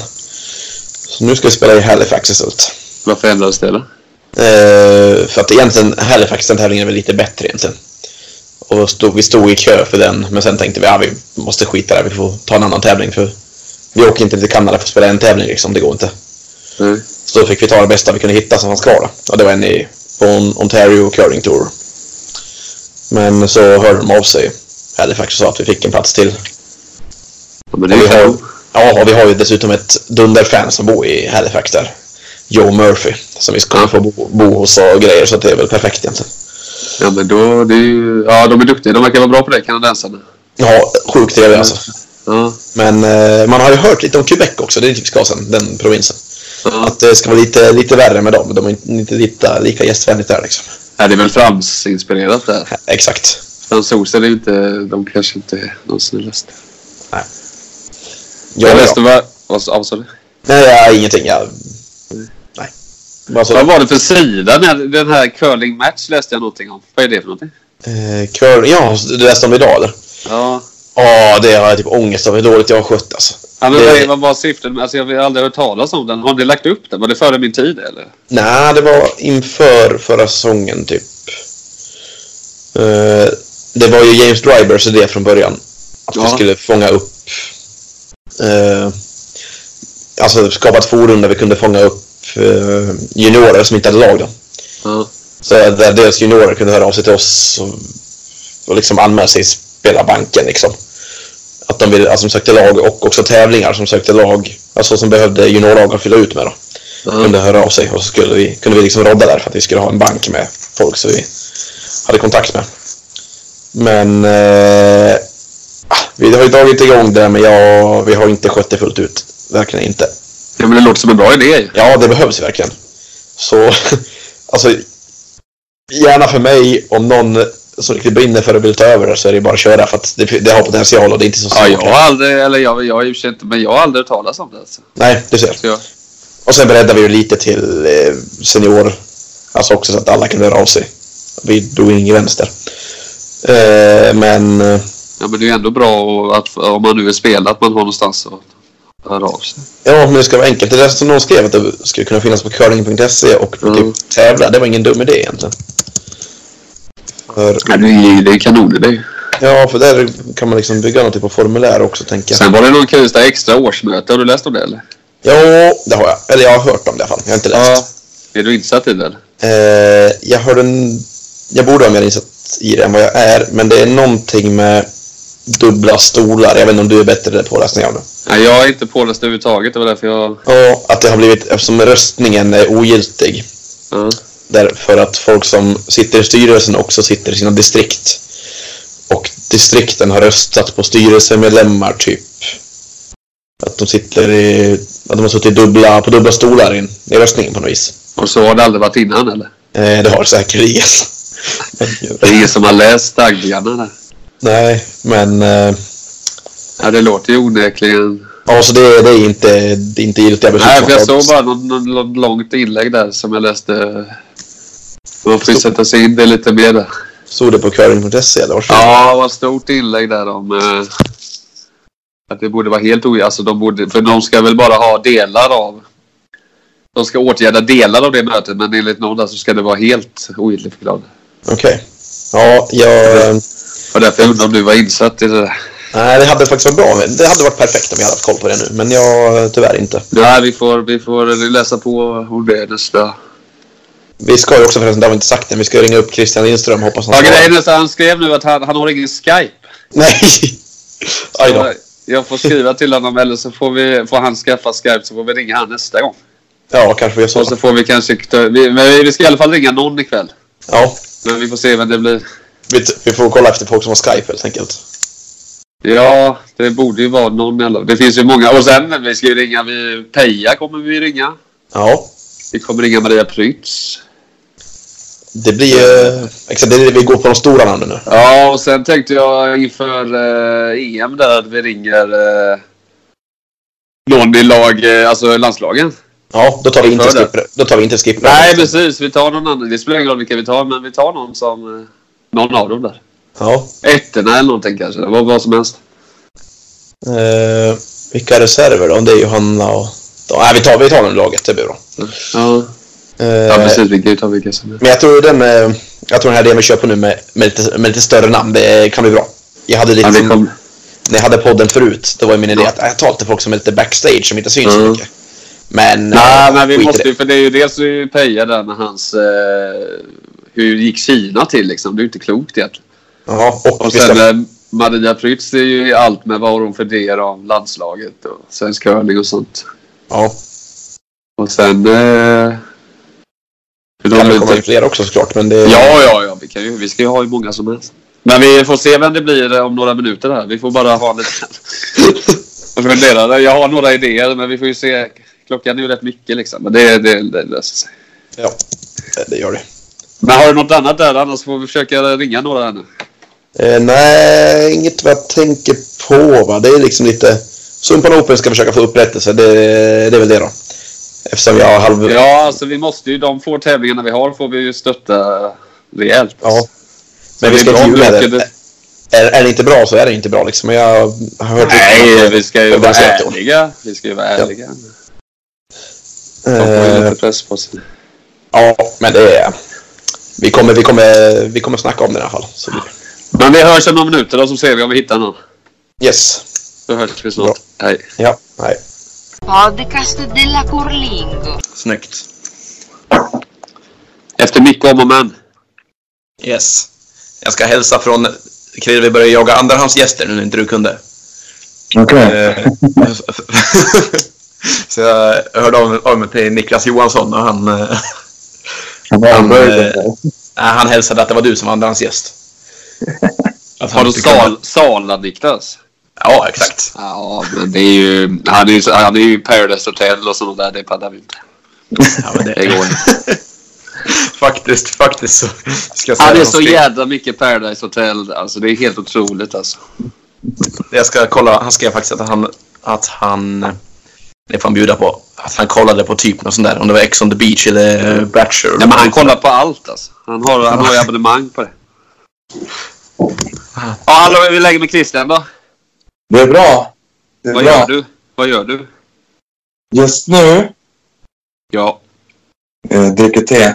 Speaker 3: Så nu ska vi spela i Halifax istället.
Speaker 2: Varför ändrades det då?
Speaker 3: Eh, för att egentligen Halifax, den tävlingen är väl lite bättre egentligen. Och då stod, vi stod i kö för den, men sen tänkte vi att ah, vi måste skita där, vi får ta en annan tävling. för Vi åker inte till Kanada för att spela en tävling, liksom. det går inte.
Speaker 2: Mm.
Speaker 3: Så då fick vi ta det bästa vi kunde hitta som fanns kvar. då. Och det var en i, på en Ontario Curling Tour. Men så hörde de av sig, Halifax, och sa att vi fick en plats till.
Speaker 2: Ja, men det
Speaker 3: Och
Speaker 2: är
Speaker 3: vi,
Speaker 2: ju
Speaker 3: har,
Speaker 2: kanon.
Speaker 3: ja, och vi har ju dessutom ett dunderfan som bor i Halifax där. Joe Murphy, som vi skulle få bo, bo hos och grejer, så det är väl perfekt egentligen.
Speaker 2: Ja, men då, det är ju, ja, de är duktiga. De verkar vara bra på det, kanadensarna.
Speaker 3: Ja, sjukt trevlig alltså.
Speaker 2: Ja,
Speaker 3: Men eh, man har ju hört lite om Quebec också, det är dit vi ska sen, den provinsen.
Speaker 2: ja.
Speaker 3: Att det ska vara lite, lite värre med dem, de är inte- inte lika, lika gästvänligt där liksom.
Speaker 2: Ja, det är väl fransinspirerat där.
Speaker 3: Exakt.
Speaker 2: Fransoser är ju inte... De kanske inte är de snällaste.
Speaker 3: Ja,
Speaker 2: jag läste
Speaker 3: ja.
Speaker 2: vad... Vad vad sa du?
Speaker 3: Nej, ja, ingenting. Jag... Nej. Bara så.
Speaker 2: Vad var det för sida? Den här, den här curling match läste jag någonting om. Vad är det för någonting?
Speaker 3: Eh, curling, ja, du läste om det idag eller?
Speaker 2: Ja.
Speaker 3: Ja, det har jag typ ångest över hur dåligt jag har skött alltså.
Speaker 2: Ja, men
Speaker 3: Det-
Speaker 2: vad, vad var syftet? med- Alltså, jag har aldrig hört talas om den. Har ni lagt upp den? Var det före min tid eller?
Speaker 3: Nej, det var inför förra säsongen typ. Eh, det var ju James Drivers idé från början. Att vi
Speaker 2: Ja.
Speaker 3: skulle fånga upp... eh, alltså skapa ett forum där vi kunde fånga upp eh, juniorer som inte hade lag. Då.
Speaker 2: Ja.
Speaker 3: Så eh, där dels juniorer kunde höra av sig till oss och, och liksom anmäla sig i spelarbanken. Liksom. Att de, ville, alltså, de sökte lag och också tävlingar som sökte lag, alltså som behövde juniorlag att fylla ut med. Då
Speaker 2: Mm.
Speaker 3: kunde höra av sig och så skulle vi, kunde vi liksom rodda där för att vi skulle ha en bank med folk som vi hade kontakt med. Men eh, ah, vi har ju dragit igång det där men jag, vi har inte skött det fullt ut. Verkligen inte.
Speaker 2: Ja, men det låter som en bra idé ju.
Speaker 3: Ja, det behövs ju verkligen. Så (laughs) alltså gärna för mig om någon som riktigt brinner för att vill ta över det så är det bara att köra för att det, det har potential och det är inte så svårt.
Speaker 2: Ja, jag har aldrig... Eller jag, jag har i och för sig inte... Men jag har aldrig hört talas om det alltså.
Speaker 3: Nej, du ser.
Speaker 2: Så jag,
Speaker 3: Och sen breddade vi ju lite till eh, senior. Alltså också så att alla kunde höra av sig. Vi drog ingen gräns där. Eh, men eh,
Speaker 2: ja, men det är ju ändå bra och att, om man nu vill spela att man har någonstans att höra av sig.
Speaker 3: ja, men det ska vara enkelt. Det där som någon skrev att det skulle kunna finnas på curling.se och på
Speaker 2: Mm.
Speaker 3: typ tävla. Det var ingen dum idé egentligen. För,
Speaker 2: Ja, det är ju det är kanon det. ju.
Speaker 3: ja, för där kan man liksom bygga någon typ av formulär också tänker jag.
Speaker 2: Sen var det någon kul där extra årsmöte. Har du läst om det eller?
Speaker 3: Ja, det har jag. Eller jag har hört om det i alla fall. Jag har inte läst.
Speaker 2: Är du insatt i det eller?
Speaker 3: Eh, jag hörde en... Jag borde ha mer insatt i det än vad jag är, men det är någonting med dubbla stolar. Jag vet inte om du är bättre på läsning av det.
Speaker 2: Nej, jag är inte påläst överhuvudtaget. Det var därför jag...
Speaker 3: Ja, att det har blivit, eftersom röstningen är ogiltig,
Speaker 2: Ja.
Speaker 3: därför att folk som sitter i styrelsen också sitter i sina distrikt. Och distrikten har röstat på styrelsemedlemmar, typ. Att de sitter i, att de har suttit i dubbla, på dubbla stolar i, i röstningen på något vis.
Speaker 2: Och så har det aldrig varit innan eller?
Speaker 3: Eh, det har det säkerligen. (laughs)
Speaker 2: Det är ingen som har läst dagbögarna där.
Speaker 3: Nej, men... Eh,
Speaker 2: Ja, det låter ju onekligen...
Speaker 3: Ja, så det, det är inte, det är inte giltiga beslut.
Speaker 2: Nej,
Speaker 3: som
Speaker 2: för jag såg
Speaker 3: fattats.
Speaker 2: bara något, något, något långt inlägg där som jag läste. Man får ju sätta sig in det lite mer där.
Speaker 3: Stod det på curling.se eller vad?
Speaker 2: Ja, det var ett stort inlägg där om eh, att det borde vara helt oj... Alltså de borde... För de ska väl bara ha delar av... De ska åtgärda delar av det mötet, men enligt någon där så ska det vara helt ogiltigförklarat.
Speaker 3: Okej. Ja, jag... eh,
Speaker 2: Och därför jag undrar om du var insatt i det där.
Speaker 3: Nej, det hade faktiskt varit bra. om- Det hade varit perfekt om jag hade haft koll på det nu. Men jag, eh, tyvärr inte.
Speaker 2: Nej, vi får, vi får läsa på om det nästa...
Speaker 3: Vi ska ju också förresten, det har vi inte sagt än, vi ska ringa upp Christian Lindström hoppas han
Speaker 2: Ja,
Speaker 3: svarar.
Speaker 2: grejen är så här, han skrev nu att han, han har ingen Skype.
Speaker 5: (laughs)
Speaker 3: Nej! Aj då.
Speaker 2: Jag, jag får skriva till honom eller så får, vi, får han skaffa Skype så får vi ringa han nästa gång.
Speaker 3: Ja, kanske vi gör
Speaker 2: Och
Speaker 3: så.
Speaker 2: så får vi kanske... ta- Vi, men vi ska i alla fall ringa någon ikväll.
Speaker 3: Ja,
Speaker 2: Men vi får se vem det blir.
Speaker 3: vi, vi får kolla efter folk som har Skype helt enkelt.
Speaker 2: Ja, det borde ju vara någon eller... Det finns ju många. Och sen, vi ska ju ringa... Vi, Peja kommer vi ringa.
Speaker 3: Ja,
Speaker 2: Vi kommer ringa Maria Prytz.
Speaker 3: det blir
Speaker 5: eh,
Speaker 3: ju... Exakt, det är det vi går på de stora namnen nu.
Speaker 2: Ja, och sen tänkte jag inför eh, EM där att vi ringer eh, någon i lag, eh, alltså landslagen.
Speaker 5: Ja, då tar vi inte
Speaker 2: Hör det.
Speaker 5: skipper. Då tar vi inte skipper.
Speaker 2: Nej, precis. Vi tar någon annan. Det spelar ingen roll vilka vi tar, men vi tar någon som... eh, Någon av dem där.
Speaker 5: Ja.
Speaker 2: Ettorna eller någonting kanske. Vad, vad som helst.
Speaker 5: Eh, vilka reserver då? Det är Johanna och... Då, nej, vi tar, vi tar den laget. Det blir bra.
Speaker 2: Ja,
Speaker 5: Eh,
Speaker 2: ja precis. Vi kan ju ta vilka som helst.
Speaker 5: Men jag tror den, eh, jag tror den här delen vi kör på nu med, med, lite, med lite större namn, det kan bli bra. Jag hade lite
Speaker 2: Ja, vi
Speaker 5: som-
Speaker 2: kom...
Speaker 5: när jag hade podden förut, då var ju min idé
Speaker 2: Ja.
Speaker 5: att jag tar till folk som är lite backstage, som inte syns så
Speaker 2: Mm.
Speaker 5: mycket. Men...
Speaker 2: Nej,
Speaker 5: eh,
Speaker 2: men vi
Speaker 5: skit i
Speaker 2: måste
Speaker 5: det.
Speaker 2: ju... För det är ju dels är ju Peja där med hans... Eh, hur gick Kina till liksom? Det är ju inte klokt egentligen.
Speaker 5: Ja, och,
Speaker 2: Och
Speaker 5: vi
Speaker 2: sen
Speaker 5: ska,
Speaker 2: eh, Maria Prytz är ju i allt med vad har hon för idéer om landslaget och svensk curling och sånt.
Speaker 5: ja,
Speaker 2: Och sen... Eh, hur
Speaker 5: det
Speaker 2: de
Speaker 5: kan väl
Speaker 2: inte-
Speaker 5: komma fler också såklart, men det...
Speaker 2: Ja, ja, ja. Vi, kan ju, vi ska ju ha hur många som helst. Men vi får se vem det blir eh, om några minuter här. Vi får bara ha lite... (laughs) Jag funderar. Jag har några idéer, men vi får ju se. Klockan är ju rätt mycket liksom. Men det, det, det löser sig.
Speaker 5: ja, det gör det.
Speaker 2: Men har du något annat där? Annars får vi försöka ringa några här nu.
Speaker 5: Eh, nej, inget vad jag tänker på. Va? Det är liksom lite... Sumpan Open ska försöka få upprättelse. Det, det är väl det då. Eftersom jag har halv... Ja.
Speaker 2: Ja, alltså vi måste ju... De få tävlingarna vi har får vi ju stötta rejält.
Speaker 5: Men vi
Speaker 2: Det är
Speaker 5: ska inte
Speaker 2: bra om vi
Speaker 5: jubla
Speaker 2: åker
Speaker 5: det.
Speaker 2: dit.
Speaker 5: Är, är det inte bra så är det inte bra liksom. Men Jag har hört...
Speaker 2: Nej, vi ska ju
Speaker 5: Jag
Speaker 2: vara
Speaker 5: bara sett det.
Speaker 2: ärliga. Vi ska ju vara ärliga. De får ju
Speaker 5: Eh,
Speaker 2: lite press på sig.
Speaker 5: ja, men det är... Vi kommer, vi kommer, vi kommer snacka om det i alla fall. Så, det-
Speaker 2: Men vi hörs om några minuter då, så ser vi om vi hittar någon.
Speaker 5: yes.
Speaker 2: Då hörs vi snart. Hej.
Speaker 5: Ja, nej.
Speaker 6: Podcast della Curlingo.
Speaker 3: Snyggt.
Speaker 2: Efter mycket om och men.
Speaker 3: Yes. Jag ska hälsa från Krille, vi börjar jaga andrahandsgäster nu när inte du kunde.
Speaker 7: Okej.
Speaker 3: Eh, (laughs) Så jag hörde av mig- av mig till Niklas Johansson och han, eh,
Speaker 7: Han började.
Speaker 3: eh, han hälsade att det var du som var andrahandsgäst. Att han
Speaker 2: Har du
Speaker 3: inte kunde-
Speaker 2: sal, Sala Niklas?
Speaker 3: Ja, exakt.
Speaker 2: Ja, men det är ju... Han är ju, han är ju Paradise Hotel och sånt där. Det paddar vi inte.
Speaker 3: Ja, men
Speaker 2: Det går inte.
Speaker 3: (laughs) faktiskt, faktiskt så ska jag säga
Speaker 2: Han är
Speaker 3: något
Speaker 2: så
Speaker 3: till.
Speaker 2: jävla mycket Paradise Hotel. Alltså det är helt otroligt alltså.
Speaker 3: Jag ska kolla. Han skrev faktiskt att han... Att han det får han bjuda på. Att han kollade på typ något sånt där. Om det var Ex on the beach eller eh, Bachelor.
Speaker 2: Nej, men han kollar på allt alltså. Han har, han har ju abonnemang på det. Ja, hallå, vi lägger med Christian då.
Speaker 7: Det är bra. Det är
Speaker 2: Vad
Speaker 7: bra.
Speaker 2: gör du? Vad gör du?
Speaker 7: Just nu
Speaker 2: Ja.
Speaker 7: eh, dricker te.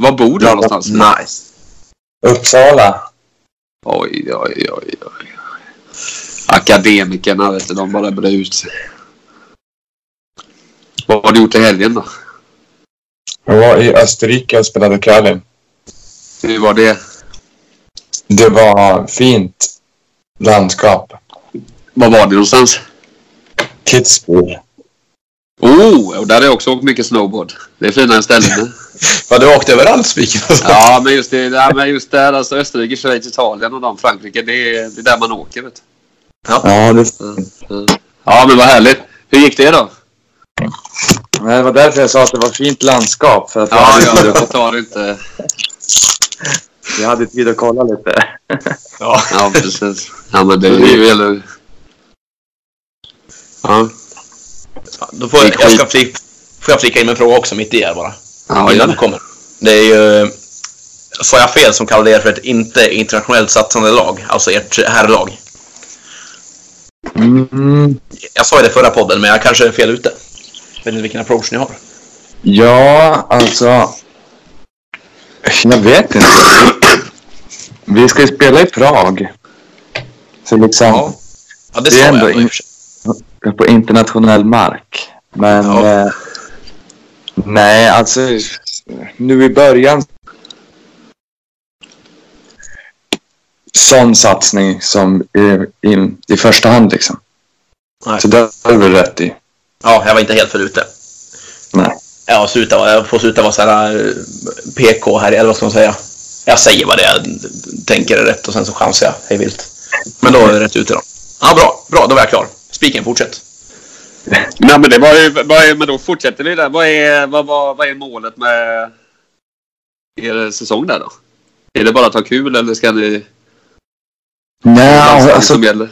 Speaker 2: Var bor du
Speaker 7: Ja,
Speaker 2: någonstans?
Speaker 3: Nice.
Speaker 7: Uppsala.
Speaker 2: Oj, oj, oj, oj. Akademikerna, vet du, de bara brer ut sig. Vad har du gjort i helgen då?
Speaker 7: Jag var i Österrike och spelade curling.
Speaker 2: Hur var det?
Speaker 7: Det var fint landskap.
Speaker 2: Var var det någonstans?
Speaker 7: Kitzbühel.
Speaker 2: Oh, och där har jag också åkt mycket snowboard. Det är finare (laughs) ställen.
Speaker 3: Vad du åkte överallt spiken alltså.
Speaker 2: ja, men just, det, ja, men just där, alltså Österrike, Schweiz, Italien och de, Frankrike. Det är, det är där man åker, vet du.
Speaker 7: Ja, det...
Speaker 2: Ja, men vad härligt. Hur gick det då?
Speaker 7: Men det var därför jag sa att det var fint landskap. För att jag,
Speaker 2: Ja,
Speaker 7: hade
Speaker 2: ja,
Speaker 7: tid
Speaker 2: jag
Speaker 7: att,
Speaker 2: tar inte...
Speaker 7: jag hade tid att kolla lite.
Speaker 3: Ja.
Speaker 2: Ja, precis. Ja, men det är ju... Eller... Ja,
Speaker 3: Då får jag, jag ska flika, får jag flika in en fråga också mitt i här bara.
Speaker 2: ja gör
Speaker 3: Innan du
Speaker 2: det.
Speaker 3: kommer. Det är ju... eh, Sa jag fel som kallade er för ett inte internationellt satsande lag? Alltså ert herrlag.
Speaker 7: Mm,
Speaker 3: Jag sa ju det i förra podden, men jag kanske är fel ute. Jag vet inte vilken approach ni har.
Speaker 7: ja, alltså. Jag vet inte. Vi ska ju spela i Prag. Så liksom.
Speaker 3: Ja, det,
Speaker 7: Det är
Speaker 3: sa
Speaker 7: ändå
Speaker 3: jag.
Speaker 7: in-
Speaker 3: In...
Speaker 7: på internationell mark. Men
Speaker 3: Ja.
Speaker 7: eh, nej, alltså nu i början. Sån satsning som i, i, i första hand liksom.
Speaker 3: Nej.
Speaker 7: Så det har du rätt i.
Speaker 3: Ja, jag var inte helt fel ute.
Speaker 7: Nej.
Speaker 3: Ja, sluta, jag får sluta vara så här eh, PK här, eller vad ska man säga? Jag säger vad det är, tänker är rätt och sen så chansar jag hej vilt. Men då är det rätt ute då. Ja, bra, bra, då var jag klar. Spiken, fortsätt.
Speaker 2: Nej, men det var ju... Vad är, men då fortsätter vi där. Vad är, vad, vad, vad är målet med er säsong där då? Är det bara att ha kul eller ska ni...
Speaker 7: Nej,
Speaker 2: landslaget
Speaker 7: alltså
Speaker 2: som gäller?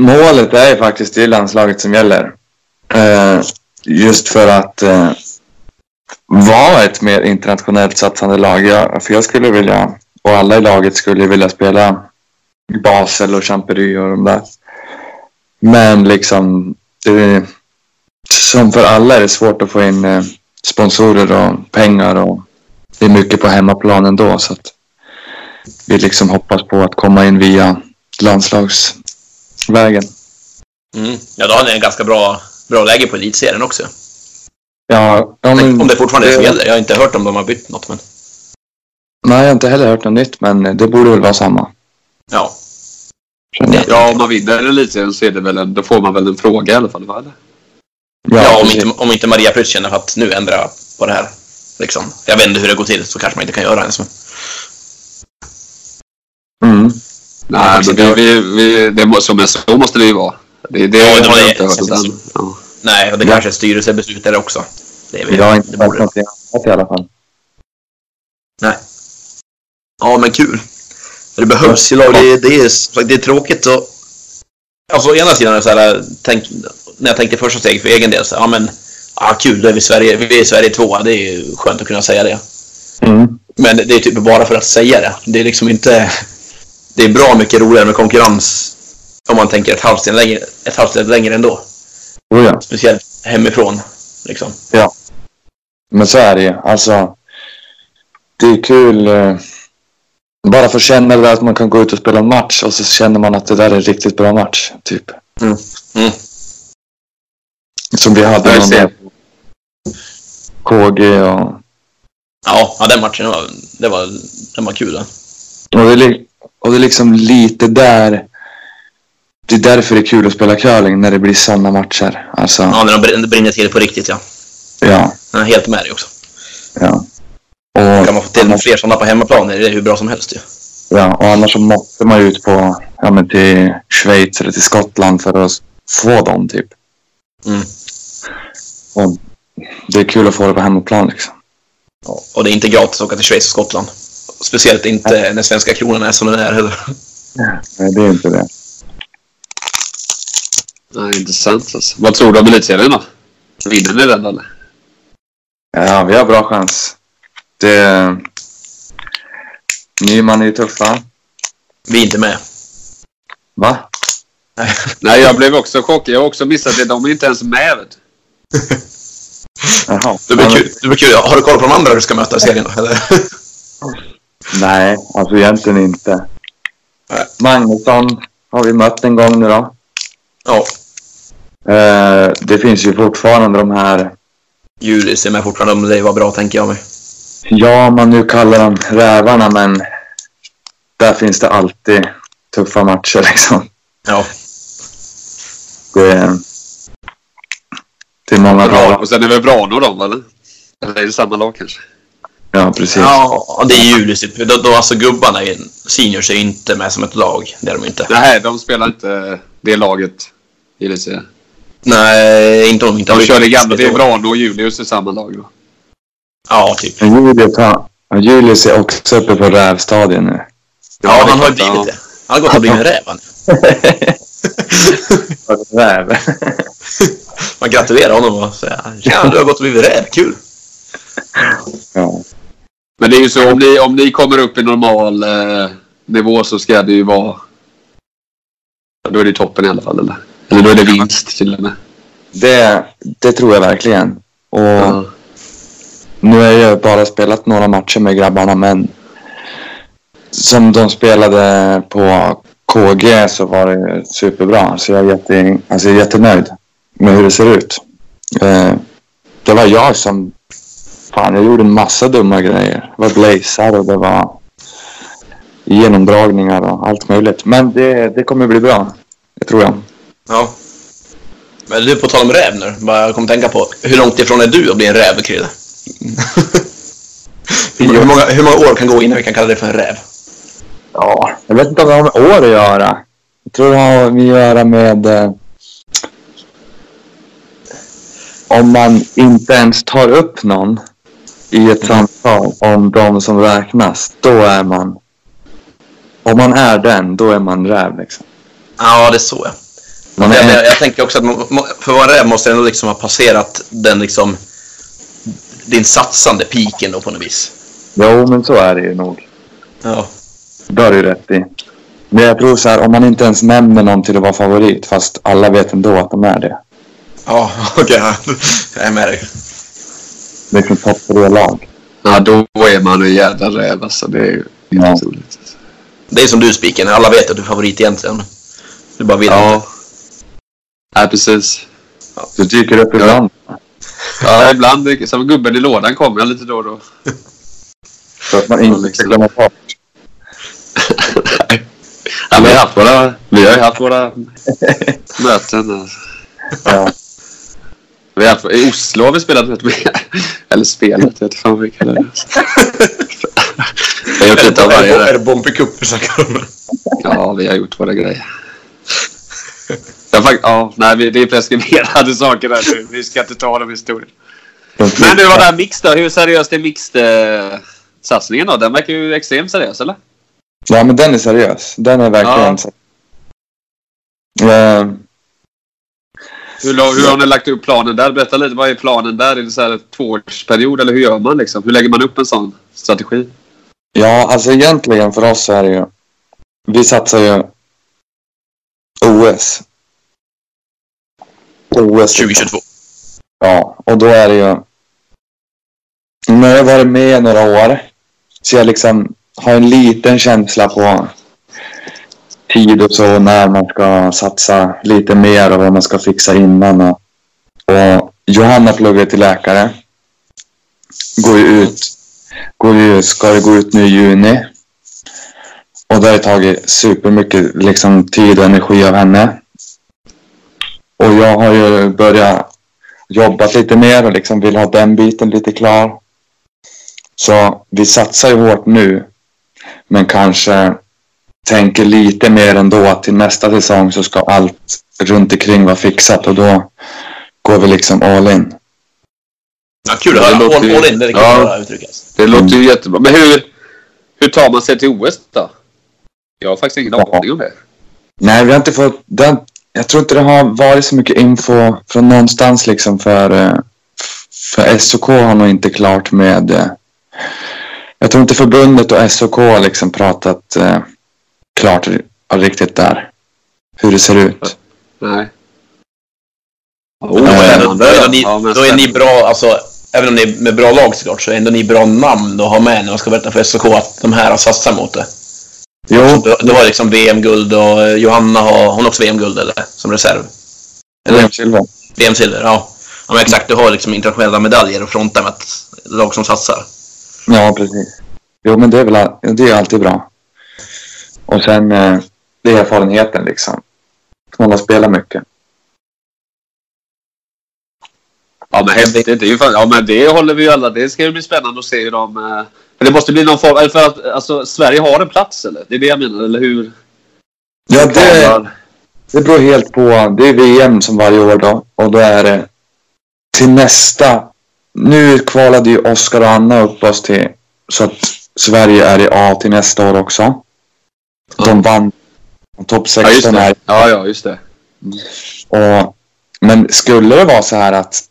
Speaker 7: målet är ju faktiskt det landslaget som gäller. Eh, Just för att eh, vara ett mer internationellt satsande lag. Jag, för jag skulle vilja, och alla i laget skulle vilja spela i Basel och Champery och de där. Men liksom, det, som för alla är det svårt att få in eh, sponsorer och pengar och det är mycket på hemmaplan ändå. Så att vi liksom hoppas på att komma in via landslagsvägen.
Speaker 3: Mm. Ja, då har ni en ganska bra, bra läge på elitserien också.
Speaker 7: Ja, ja, men-
Speaker 3: Om Mm. det fortfarande är så gäller. Jag har inte hört om de har bytt något, men
Speaker 7: Nej, jag har inte heller hört något nytt, men det borde väl vara samma.
Speaker 3: ja.
Speaker 7: känner jag.
Speaker 2: Ja, om man vinner elitserien så är det väl en, då får man väl en fråga i alla fall, va? eller?
Speaker 3: Ja, om,
Speaker 7: precis.
Speaker 3: inte, om inte Maria Prytz känner att nu ändra på det här. Liksom. Jag vet inte hur det går till, så kanske man inte kan göra ens. Men...
Speaker 7: Mm.
Speaker 2: Nej, men vi, vi, vi, det, må- som jag sa, så måste det ju vara. Det, det,
Speaker 3: Ja, det
Speaker 2: har
Speaker 3: var
Speaker 2: jag
Speaker 3: det.
Speaker 2: inte hört än. Ja.
Speaker 3: Nej, och det
Speaker 7: Ja.
Speaker 3: kanske är ett styrelsebeslut där också. Det är väl,
Speaker 7: Jag har inte
Speaker 3: det
Speaker 7: sagt
Speaker 3: borde...
Speaker 7: något annat i alla fall.
Speaker 3: Ja, men kul. Det behövs ju lag. Det, det, är, som sagt, det är tråkigt och... Alltså, å ena sidan är det så här, tänk, när jag tänkte första steget för egen del, så här, ja men... Ja, kul, då är vi i Sverige, vi är i Sverige tvåa. Det är ju skönt att kunna säga det.
Speaker 7: Mm.
Speaker 3: Men det är typ bara för att säga det. Det är liksom inte... Det är bra mycket roligare med konkurrens om man tänker ett halvt steg längre, ett halvt steg längre ändå.
Speaker 7: Oh, ja.
Speaker 3: Speciellt hemifrån. Liksom.
Speaker 7: Men så är det ju. Alltså, det är kul. eh, Bara för att känna det där att man kan gå ut och spela en match och så känner man att det där är en riktigt bra match. Typ.
Speaker 3: Mm. Mm.
Speaker 7: Som vi hade
Speaker 2: Jag
Speaker 7: någon
Speaker 2: ser.
Speaker 7: KG och...
Speaker 3: Ja, ja, den matchen var, det var, den var kul. Den.
Speaker 7: Och det, är li- och det är liksom lite där... Det är därför det är kul att spela curling, när det blir sådana matcher. Alltså,
Speaker 3: Ja, när de br- brinner till på riktigt ja.
Speaker 7: ja.
Speaker 3: Jag är helt med dig också.
Speaker 7: ja.
Speaker 3: Kan man få till fler sådana på hemmaplan är det hur bra som helst ju.
Speaker 7: Ja, och annars så måste man ju ut på, ja, men till Schweiz eller till Skottland för att få dem typ.
Speaker 3: Mm.
Speaker 7: Och det är kul att få det på hemmaplan liksom.
Speaker 3: Och det är inte gratis att åka till Schweiz och Skottland. Speciellt inte när svenska kronan är som den är heller.
Speaker 7: Nej, det är inte det.
Speaker 2: Nej, intressant alltså. Vad tror du om elitserien då? Vinner ni den eller?
Speaker 7: Ja, vi har bra chans. Det... Nyman är ju tuffa.
Speaker 3: Vi är inte med.
Speaker 7: Va?
Speaker 3: Nej.
Speaker 2: Nej, jag blev också chockad. Jag har också missat det. De är inte ens med. vet du.
Speaker 7: Jaha.
Speaker 3: Det blir kul. Det blir kul. Har du koll på de andra du ska möta i serien (laughs) då? Eller?
Speaker 7: Nej, alltså egentligen inte. Eh,
Speaker 3: Nej.
Speaker 7: Magnusson har vi mött en gång nu då.
Speaker 3: Ja.
Speaker 7: Eh, det finns ju fortfarande de här
Speaker 3: Julis är med fortfarande om det var bra tänker jag mig.
Speaker 7: Ja, man nu kallar dem rävarna, men där finns det alltid tuffa matcher (laughs) liksom.
Speaker 3: Ja. typ.
Speaker 7: Det, det är många bra lag.
Speaker 2: Och sen är väl Brano de eller? Eller är det samma lag kanske?
Speaker 7: Ja, precis.
Speaker 3: Ja, det är Julis. Då, då alltså gubbarna, i- seniors, är ju inte med som ett lag. Det är de inte.
Speaker 2: Nej, de spelar inte det laget i elitserien.
Speaker 3: Nej, inte om de inte
Speaker 2: De kör det gamla. Det är
Speaker 3: år.
Speaker 2: Brano och Julius i samma lag då.
Speaker 3: Ja, typ.
Speaker 7: Men Julius, har- ja, Julius är också uppe på rävstadion nu.
Speaker 3: Ja,
Speaker 2: det är
Speaker 3: han har ju
Speaker 2: klart,
Speaker 3: blivit
Speaker 2: ja.
Speaker 3: det. Han har gått och blivit en räv han.
Speaker 7: Räv? (laughs)
Speaker 3: Man gratulerar honom och säger (laughs) Tja, du har gått och blivit räv. Kul!
Speaker 7: ja.
Speaker 2: Men det är ju så om ni, om ni kommer upp i normal eh, nivå så ska det ju vara... ja, Då är det toppen i alla fall eller? Eller då är det vinst till och med.
Speaker 7: det, det tror jag verkligen. Och
Speaker 2: Ja.
Speaker 7: nu har jag bara spelat några matcher med grabbarna, men som de spelade på KG så var det superbra. Så jag är, jätte, alltså jag är jättenöjd med hur det ser ut. Eh, det var jag som... Fan, jag gjorde en massa dumma grejer. Det var blazar och det var genomdragningar och allt möjligt. Men det, det kommer bli bra. Det tror jag.
Speaker 3: Ja. Men du, på tal om räv nu. Bara jag kom att tänka på. Hur långt ifrån är du att bli en räv, (laughs) Krille? hur, många, hur många år kan gå innan vi kan kalla dig för en räv?
Speaker 7: Ja, jag vet inte om det har med år att göra. Jag tror det har med att göra med eh, om man inte ens tar upp någon i ett samtal om de som räknas. Då är man... Om man är den, då är man räv liksom.
Speaker 3: Ja, det är så ja.
Speaker 7: Man
Speaker 3: Jag, jag,
Speaker 7: är,
Speaker 3: jag tänker också att man, må- för att vara räv måste ändå liksom ha passerat den liksom din satsande piken då på något vis.
Speaker 7: jo, men så är det ju nog.
Speaker 3: Ja.
Speaker 7: Det har du rätt i. Men jag tror så här, om man inte ens nämner någon till att vara favorit, fast alla vet ändå att de är det.
Speaker 3: Ja, (laughs) okej. jag är med dig.
Speaker 7: Det är som topp tre lag.
Speaker 2: Ja, då är man en jävla räv alltså. Det är ju inte
Speaker 7: Ja.
Speaker 2: roligt.
Speaker 3: Det är som du Spiken, alla vet att du är favorit egentligen. Du bara vill.
Speaker 2: Ja. Ja, precis.
Speaker 7: Du dyker upp ibland.
Speaker 2: Ja, ibland. är- Som gubben i lådan kommer jag lite då och då.
Speaker 7: Så att man inte ska glömma bort.
Speaker 2: Ja, vi, har haft våra, vi har ju haft våra (laughs) möten. alltså.
Speaker 7: Ja.
Speaker 2: Vi har haft, I Oslo har vi spelat ett med. (laughs) Eller spelat, jag vet inte fan vad vi kallar det. Vi har gjort lite typ av (laughs) varje.
Speaker 3: Är
Speaker 2: där.
Speaker 3: det Bombi Cup vi snackar om?
Speaker 2: Ja, vi har gjort våra grejer. Jag fakt- ja, nej, vi- det är preskriberade (laughs) saker där nu. Vi ska inte ta de historierna. Men nu var det här mix då. Hur seriöst är mixed-satsningen då? Den verkar ju extremt seriös, eller?
Speaker 7: Ja, men den är seriös. Den är verkligen
Speaker 2: Ja.
Speaker 7: så. Eh,
Speaker 2: Hur, la- hur har ni lagt upp planen där? Berätta lite. Vad är planen där? Är det så här tvåårsperiod eller hur gör man liksom? Hur lägger man upp en sån strategi?
Speaker 7: ja, alltså egentligen för oss så är det ju. Vi satsar ju OS. OS.
Speaker 3: 2022.
Speaker 7: Ja, och då är det ju... Nu har jag varit med i några år. Så jag liksom har en liten känsla på tid och så. När man ska satsa lite mer och vad man ska fixa innan. Och, och Johanna pluggar till läkare. Går ju ut. Går ju, ska det gå ut nu i juni. Och det har ju tagit supermycket liksom, tid och energi av henne. Och jag har ju börjat jobbat lite mer och liksom vill ha den biten lite klar. Så vi satsar ju hårt nu, men kanske tänker lite mer ändå att till nästa säsong så ska allt runt omkring vara fixat och då går vi liksom all in.
Speaker 3: Ja, kul att
Speaker 2: Ja, det
Speaker 3: höra.
Speaker 2: låter ju-
Speaker 3: All, all in, det kan
Speaker 2: Ja.
Speaker 3: ja. uttryckas.
Speaker 2: Det låter ju jättebra. Men hur, hur tar man sig till OS då? Jag har faktiskt ingen
Speaker 7: Ja.
Speaker 2: aning om det.
Speaker 7: Nej, vi har inte fått den. Jag tror inte det har varit så mycket info från någonstans liksom för, eh, för SOK har nog inte klart med. eh, Jag tror inte förbundet och SOK har liksom pratat eh, klart riktigt där. Hur det ser ut.
Speaker 2: Nej.
Speaker 3: Men då, är, ändå- då, är ni,
Speaker 2: Ja, men
Speaker 3: då är ni
Speaker 2: spännande.
Speaker 3: bra, alltså, även om ni är med bra lag såklart, så är ändå ni bra namn att ha med när man ska berätta för SOK att de här har satsat mot det.
Speaker 7: Jo,
Speaker 3: Du, du har liksom VM-guld och eh, Johanna har, hon har också VM-guld eller? Som reserv.
Speaker 7: VM-silver.
Speaker 3: VM-silver, ja. ja men exakt, du har liksom internationella medaljer att fronta med ett lag som satsar.
Speaker 7: Ja, precis. Jo, men det är väl all- det är alltid bra. Och sen eh, det är erfarenheten liksom. Man har spelat mycket.
Speaker 2: Ja men häftigt. Det är ju fan, ja men det håller vi ju alla. Det ska ju bli spännande att se hur de... eh, För det måste bli någon form... eller För att, alltså, Sverige har en plats eller? Det är det jag menar. Eller hur?
Speaker 7: Ja, det,
Speaker 2: Planer.
Speaker 7: Det beror helt på. Det är VM som varje år då. Och då är det till nästa. Nu kvalade ju Oskar och Anna upp oss till så att Sverige är i A till nästa år också. De vann topp
Speaker 2: Ja, just
Speaker 7: 16 här.
Speaker 2: det. Ja, ja, just det.
Speaker 7: Och, men skulle det vara så här att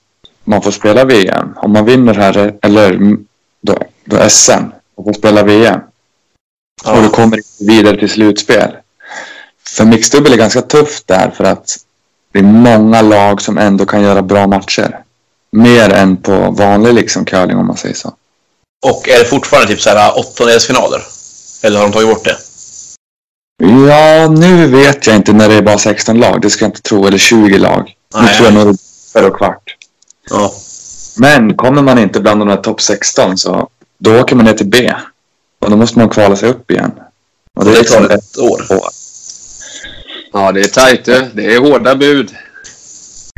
Speaker 7: man får spela VM. Om man vinner här eller mm, då, då SM och får spela VM. Och du
Speaker 3: Ja.
Speaker 7: kommer inte vidare till slutspel. För mixdubbel är ganska tufft där för att det är många lag som ändå kan göra bra matcher. Mer än på vanlig liksom curling om man säger så.
Speaker 3: Och är det fortfarande typ så här åttondelsfinaler? Eller har de tagit bort det?
Speaker 7: Ja, nu vet jag inte när det är bara 16 lag. Det ska jag inte tro. Eller 20 lag. nu
Speaker 3: Nej.
Speaker 7: tror jag nog det är för och kvart.
Speaker 3: Ja.
Speaker 7: Men kommer man inte bland de här topp 16 så då åker man ner till B. Och då måste man kvala sig upp igen. Och det,
Speaker 3: Det
Speaker 7: är liksom
Speaker 3: tar
Speaker 7: ett
Speaker 3: ett år.
Speaker 7: år.
Speaker 2: Ja, det är tajt du. Det är hårda bud.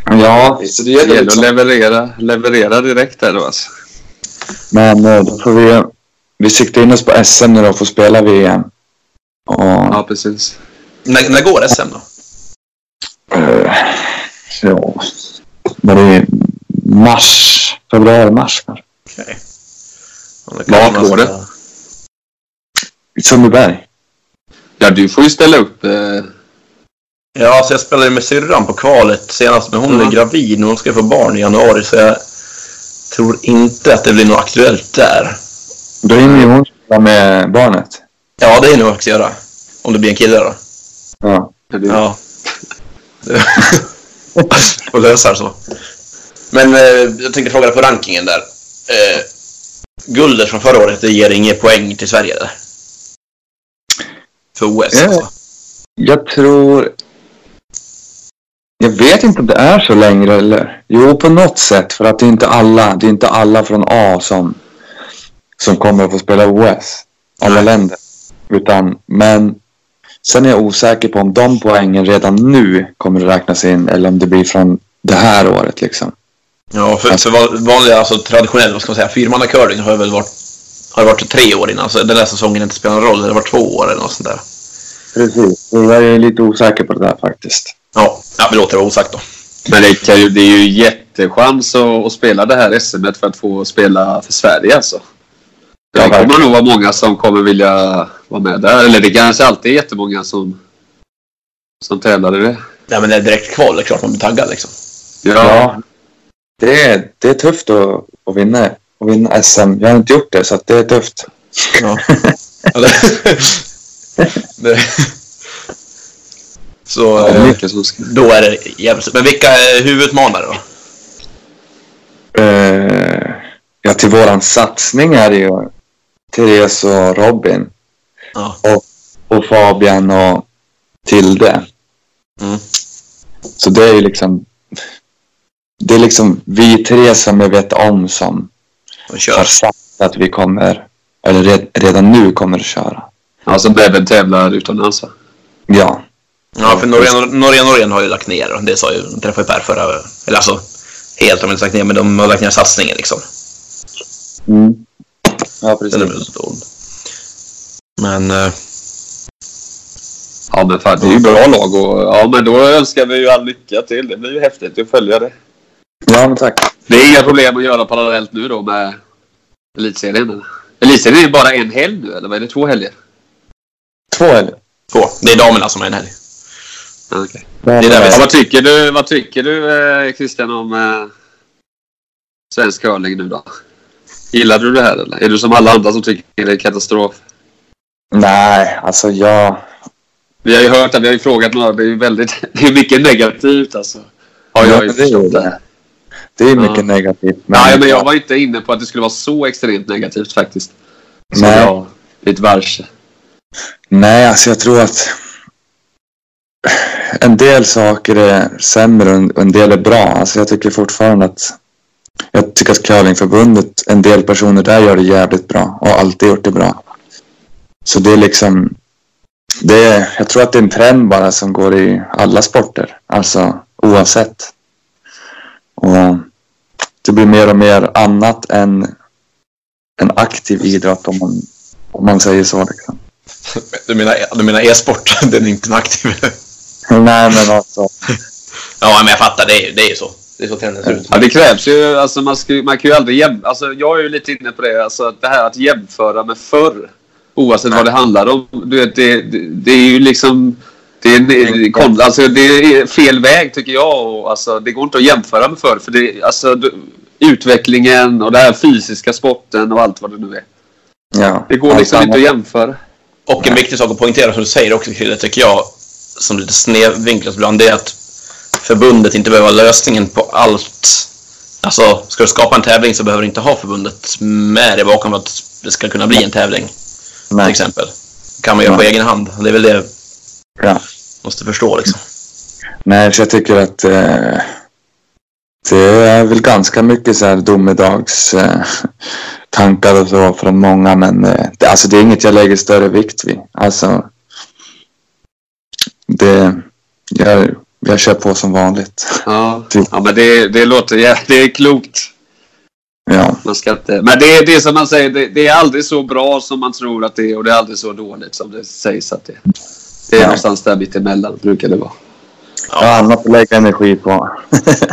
Speaker 7: Ja,
Speaker 2: Så det gäller liksom-
Speaker 7: liksom.
Speaker 2: att leverera, leverera direkt där då alltså.
Speaker 7: Men eh, då får vi, vi siktar in oss på SM nu då och får spela VM. Och,
Speaker 2: Ja, precis.
Speaker 3: När, när går SM då?
Speaker 7: eh, ja, var det mars? Februari, mars kanske?
Speaker 3: Okej.
Speaker 2: Vart går det?
Speaker 7: I Sundbyberg.
Speaker 2: Ja, du får ju ställa upp. Eh,
Speaker 3: Ja, så jag spelade med syrran på kvalet senast, men hon
Speaker 2: Mm.
Speaker 3: är gravid och hon ska få barn i januari, så jag tror inte att det blir något aktuellt där.
Speaker 7: Då hinner ju hon spela med barnet.
Speaker 3: Ja, det är nog att göra. Om det blir en kille då.
Speaker 7: Ja.
Speaker 2: Men det-
Speaker 3: Ja. och lösa det så. Men eh, jag tänkte fråga dig på rankingen där. Eh, guldet från förra året, det ger inget poäng till Sverige eller? För OS
Speaker 7: Ja.
Speaker 3: alltså.
Speaker 7: Jag tror... Jag vet inte om det är så längre eller? Jo, på något sätt. För att det är inte alla, det är inte alla från A som, som kommer att få spela OS. Alla länder. Utan, men sen är jag osäker på om de poängen redan nu kommer att räknas in eller om det blir från det här året liksom.
Speaker 3: Ja, för, för va- vanliga, alltså traditionell, vad ska man säga, fyrmannacurling har väl varit, har varit tre år innan. Så den här säsongen inte spelar någon roll, det har varit två år eller något sånt där.
Speaker 7: Precis. Jag är lite osäker på det där faktiskt.
Speaker 3: Ja, ja vi låter det vara osagt då.
Speaker 2: Men det, kan ju, det är ju jättechans att, att spela det här SMet för att få spela för Sverige alltså.
Speaker 7: Ja,
Speaker 2: Det kommer
Speaker 7: verkligen.
Speaker 2: nog vara många som kommer vilja vara med där. Eller det kanske alltid är jättemånga som, som tävlar i det.
Speaker 3: Nej, men det är direkt kval, det är klart man blir taggad liksom.
Speaker 7: Ja. Det är, det är tufft att, att, vinna, att vinna SM. Jag har inte gjort det, så att det är tufft.
Speaker 3: Ja. Eller... det... Så
Speaker 2: det är
Speaker 3: eh,
Speaker 2: mycket som ska...
Speaker 3: då är det jävligt. Men vilka är huvudutmanare då?
Speaker 7: Eh, ja, till våran satsning är det ju Therese och Robin.
Speaker 3: Ja.
Speaker 7: Och, och Fabian och Tilde.
Speaker 3: Mm.
Speaker 7: Så det är ju liksom... Det är liksom vi tre som jag vet om som
Speaker 3: De
Speaker 7: har
Speaker 3: kör.
Speaker 7: sagt att vi kommer, eller red, redan nu kommer att köra.
Speaker 2: Alltså även tävlar utomlands va?
Speaker 7: Ja,
Speaker 3: Ja, för Norge, Norge, Norge har ju lagt ner. Det sa ju, de träffade ju Per förra... Eller alltså, helt har de inte lagt ner, men de har lagt ner satsningen liksom.
Speaker 7: Mm. ja
Speaker 3: Den är väl stor. Men... eh,
Speaker 2: Ja men fan det är ju bra lag och ja men då önskar vi ju all lycka till. Det blir ju häftigt att följa det.
Speaker 7: Ja, men tack.
Speaker 2: Det är inga problem att göra parallellt nu då med Elitserien eller? Elitserien är ju bara en helg nu eller vad är det? Två helger?
Speaker 7: Två eller?
Speaker 3: Två. Det är damerna som är en helg.
Speaker 2: Ja, okej. Det är där vi- ja, vad tycker du, vad tycker du eh, Christian om eh, svensk curling nu då? Gillar du det här eller? Är du som alla andra som tycker det är katastrof?
Speaker 7: Nej, alltså jag...
Speaker 2: Vi har ju hört att vi har ju frågat några. Det är ju väldigt, (laughs) det är mycket negativt alltså. Har jag ju
Speaker 7: det, är ju
Speaker 2: förstått
Speaker 7: det. det är ju
Speaker 2: Ja.
Speaker 7: mycket negativt.
Speaker 2: Nej, men jag var inte inne på att det skulle vara så extremt negativt faktiskt. Så
Speaker 7: Nej.
Speaker 2: jag lite varse.
Speaker 7: Nej, alltså jag tror att en del saker är sämre och en del är bra. Alltså jag tycker fortfarande att jag tycker att curlingförbundet, en del personer där gör det jävligt bra och har alltid gjort det bra. Så det är liksom, det är, jag tror att det är en trend bara som går i alla sporter, alltså oavsett. Och det blir mer och mer annat än en aktiv idrott om man, om man säger så. Liksom.
Speaker 3: Du menar, du menar e-sport? Den är inte en aktiv...
Speaker 7: Nej men alltså.
Speaker 3: ja, men jag fattar. Det är ju det är ju så. Det är så trenden ser ut.
Speaker 2: Ja, det krävs ju. Alltså, man, ska, ju- man kan ju aldrig jäm, alltså, Jag är ju lite inne på det. Alltså, att det här att jämföra med förr. Oavsett vad det handlar om. Du vet, det, det, det är ju liksom... Det är, en- det, är kon- alltså, det är fel väg tycker jag. Och, alltså, det går inte att jämföra med förr. För det, alltså, du, utvecklingen och den här fysiska sporten och allt vad det nu är.
Speaker 7: Ja.
Speaker 2: Det går
Speaker 7: Allt
Speaker 2: liksom inte
Speaker 7: annat.
Speaker 2: att jämföra.
Speaker 3: Och en viktig sak att poängtera som du säger också Chrille, tycker jag, som lite snedvinklas ibland, det är att förbundet inte behöver vara lösningen på allt. Alltså, ska du skapa en tävling så behöver du inte ha förbundet med dig bakom att det ska kunna bli en tävling, till
Speaker 7: Nej.
Speaker 2: liksom.
Speaker 3: exempel. Det kan man göra på egen hand. Det är väl det
Speaker 7: Ja.
Speaker 3: måste förstå liksom.
Speaker 7: Nej, så jag tycker att eh, det är väl ganska mycket så här domedags eh, tankar och så från många, men eh, det, alltså det är inget jag lägger större vikt vid. Alltså, det, jag, jag kör på som vanligt.
Speaker 2: Ja,
Speaker 7: Typ.
Speaker 2: ja men det, det låter... Ja, det är klokt.
Speaker 7: Ja,
Speaker 2: Man ska inte, men det är det är som man säger, det, det är aldrig så bra som man tror att det är och det är aldrig så dåligt som det sägs att det är. Det är
Speaker 7: Ja.
Speaker 2: någonstans där mittemellan brukar det vara.
Speaker 7: jag har annat att lägga energi på.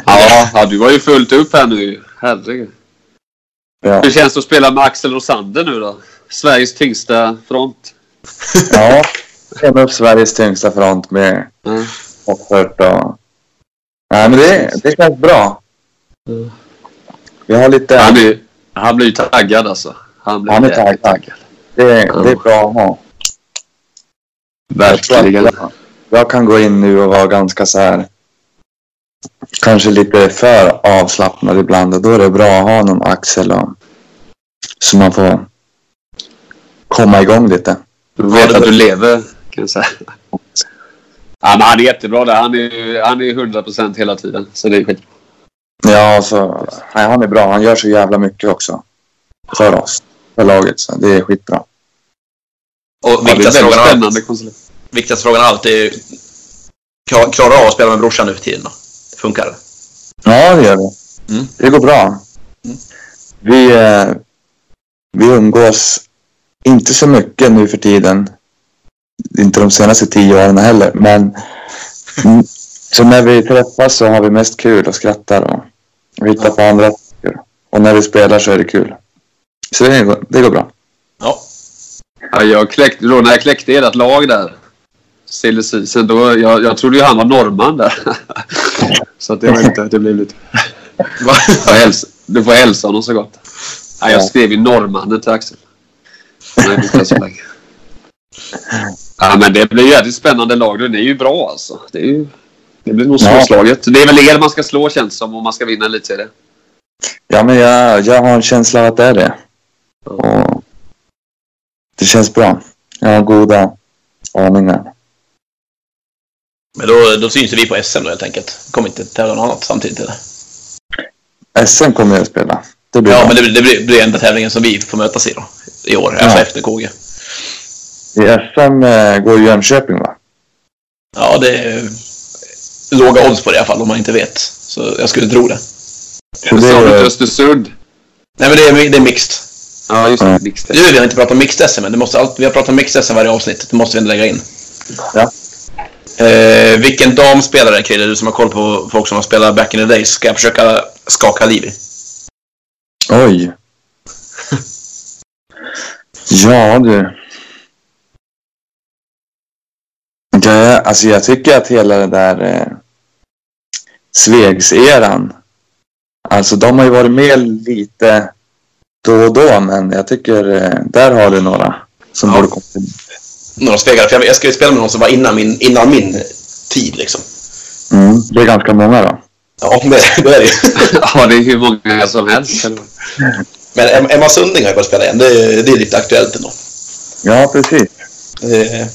Speaker 2: Ja, ja du har ju fullt upp här nu. Herregud.
Speaker 7: Ja,
Speaker 2: Hur känns det att spela med Axel Rosander nu då? Sveriges tyngsta front.
Speaker 7: ja. Jag upp Sveriges tyngsta front med
Speaker 2: Mm.
Speaker 7: Offert och... Nej, men det, det känns bra.
Speaker 3: Mm.
Speaker 7: Vi har lite...
Speaker 2: Han, är, han blir ju taggad alltså. Han blir
Speaker 7: Han är
Speaker 2: jävligt
Speaker 7: taggad. Det, det är bra att ha. Jag tror att
Speaker 2: Verkligen.
Speaker 7: jag- Jag kan gå in nu och vara ganska så här. Kanske lite för avslappnad ibland och då är det bra att ha någon axel och, så man får komma igång lite.
Speaker 2: Du vet att du lever, kan jag säga. Ja, men han är jättebra där. Han är ju han är ju 100% hela tiden. Så det är skit.
Speaker 7: Ja, så, nej, han är bra. Han gör så jävla mycket också. För oss. För laget. Så det är skitbra.
Speaker 3: Och
Speaker 2: Ja, det är
Speaker 3: viktigaste
Speaker 2: väldigt
Speaker 3: frågan, all-
Speaker 2: spännande konsulent.
Speaker 3: viktigaste frågan allt är ju... klar- Klarar du av att spela med brorsan nu för tiden då? Funkar det?
Speaker 7: Ja, det gör vi.
Speaker 3: Mm.
Speaker 7: Det går bra. Vi, eh, vi umgås inte så mycket nu för tiden. Inte de senaste tio åren heller, men... Mm, så när vi träffas så har vi mest kul och skrattar och och hittar på andra saker. Och när vi spelar så är det kul. Så det går, det går bra.
Speaker 3: Ja.
Speaker 2: Ja, jag kläckte, då när jag kläckte ert lag där. Silly Season, då, jag, jag trodde ju han var norrman där. (laughs) så att det var inte att det blev lite... Du får hälsa- du får hälsa honom så gott. Ja, jag
Speaker 7: Ja.
Speaker 2: skrev ju norrmannen till Axel. Nej, det tar så länge. Ja, men det blir ju jävligt spännande lag. Det är ju bra alltså. Det, är ju, det blir nog
Speaker 7: Ja.
Speaker 2: svårslaget. Det är väl er man ska slå känns som om man ska vinna lite i det.
Speaker 7: Ja, men jag, jag har en känsla av att det är det. Och det känns bra. Jag har goda aningar.
Speaker 3: Men då, då syns ju vi på SM då helt enkelt. Kommer inte tävla något annat samtidigt eller?
Speaker 7: SM kommer jag att spela. Det blir
Speaker 3: Ja,
Speaker 7: bra.
Speaker 3: men det, blir- det blir, blir enda tävlingen som vi får mötas i då. I år, alltså
Speaker 7: Ja.
Speaker 3: efter KG.
Speaker 7: I SM eh, går ju Jönköping va?
Speaker 3: Ja, det är låga odds på det i alla fall om man inte vet. Så jag skulle tro det.
Speaker 7: Så det
Speaker 2: Sa du
Speaker 7: är,
Speaker 2: till Östersund?
Speaker 3: Nej, men det är, det är mixed.
Speaker 2: Ja, just det.
Speaker 7: Ja.
Speaker 2: Mixed.
Speaker 3: Nu har vi inte pratat om mixed SM, men det måste alltid, vi har pratat om mixed SM varje avsnitt. Det måste vi ändå lägga in.
Speaker 7: Ja.
Speaker 3: Eh, vilken damspelare, Krille, du som har koll på folk som har spelat back in the days, ska jag försöka skaka liv i?
Speaker 7: oj. ja du. Jag, alltså jag tycker att hela det där eh, Svegseran. Alltså de har ju varit med lite då och då men jag tycker eh, där har du några som
Speaker 3: Ja.
Speaker 7: borde komma in.
Speaker 3: Några spelare, för jag, jag ska ju spela med någon som var innan min, innan min tid liksom.
Speaker 7: Mm, det är ganska många då.
Speaker 3: Ja, (laughs) det, det är det ju.
Speaker 2: Ja, det är hur många som helst.
Speaker 3: Men Em- Emma Sunding har ju börjat spela igen. Det, är- det är lite aktuellt ändå.
Speaker 7: Ja precis.
Speaker 3: Eh,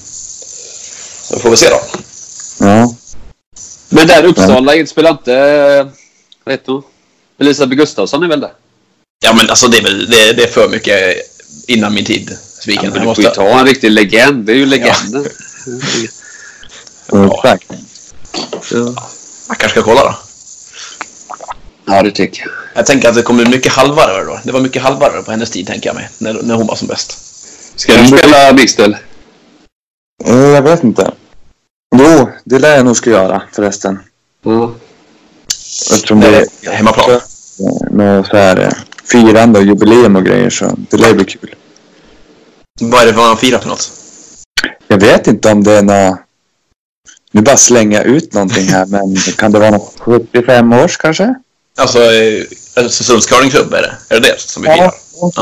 Speaker 3: Så får vi se då.
Speaker 7: Ja.
Speaker 2: Men där Uppsala spelar inte... eh, Vad heter hon? Elisabeth Gustafsson är väl där?
Speaker 3: Ja, men alltså det är, väl, det, det är för mycket innan min tid. Sviken.
Speaker 2: men
Speaker 3: jag
Speaker 2: du måste... får ju
Speaker 3: måste...
Speaker 2: ta en riktig legend. Det är ju legenden.
Speaker 3: Ja.
Speaker 7: Exakt.
Speaker 2: (laughs) Ja,
Speaker 3: Jag kanske ska kolla då.
Speaker 2: ja det tycker jag.
Speaker 3: Jag tänker att det kommer mycket halvvarvare då. Det var mycket halvvarvare på hennes tid, tänker jag mig. När, när hon var som bäst.
Speaker 2: Ska du spela mixed?
Speaker 7: Eh, Jag vet inte. Jo, det lär jag nog ska göra förresten.
Speaker 2: Ja.
Speaker 7: Eftersom det är
Speaker 3: Det är hemmaplan.
Speaker 7: eh, något så här eh, firande och jubileum och grejer så det lär bli kul.
Speaker 3: Vad är det för man firar för något?
Speaker 7: Jag vet inte om det är något... Nu bara slänga ut någonting här men kan det vara något 75 års kanske?
Speaker 3: Alltså, eh, Östersunds curlingklubb är det. Är det det som vi firar?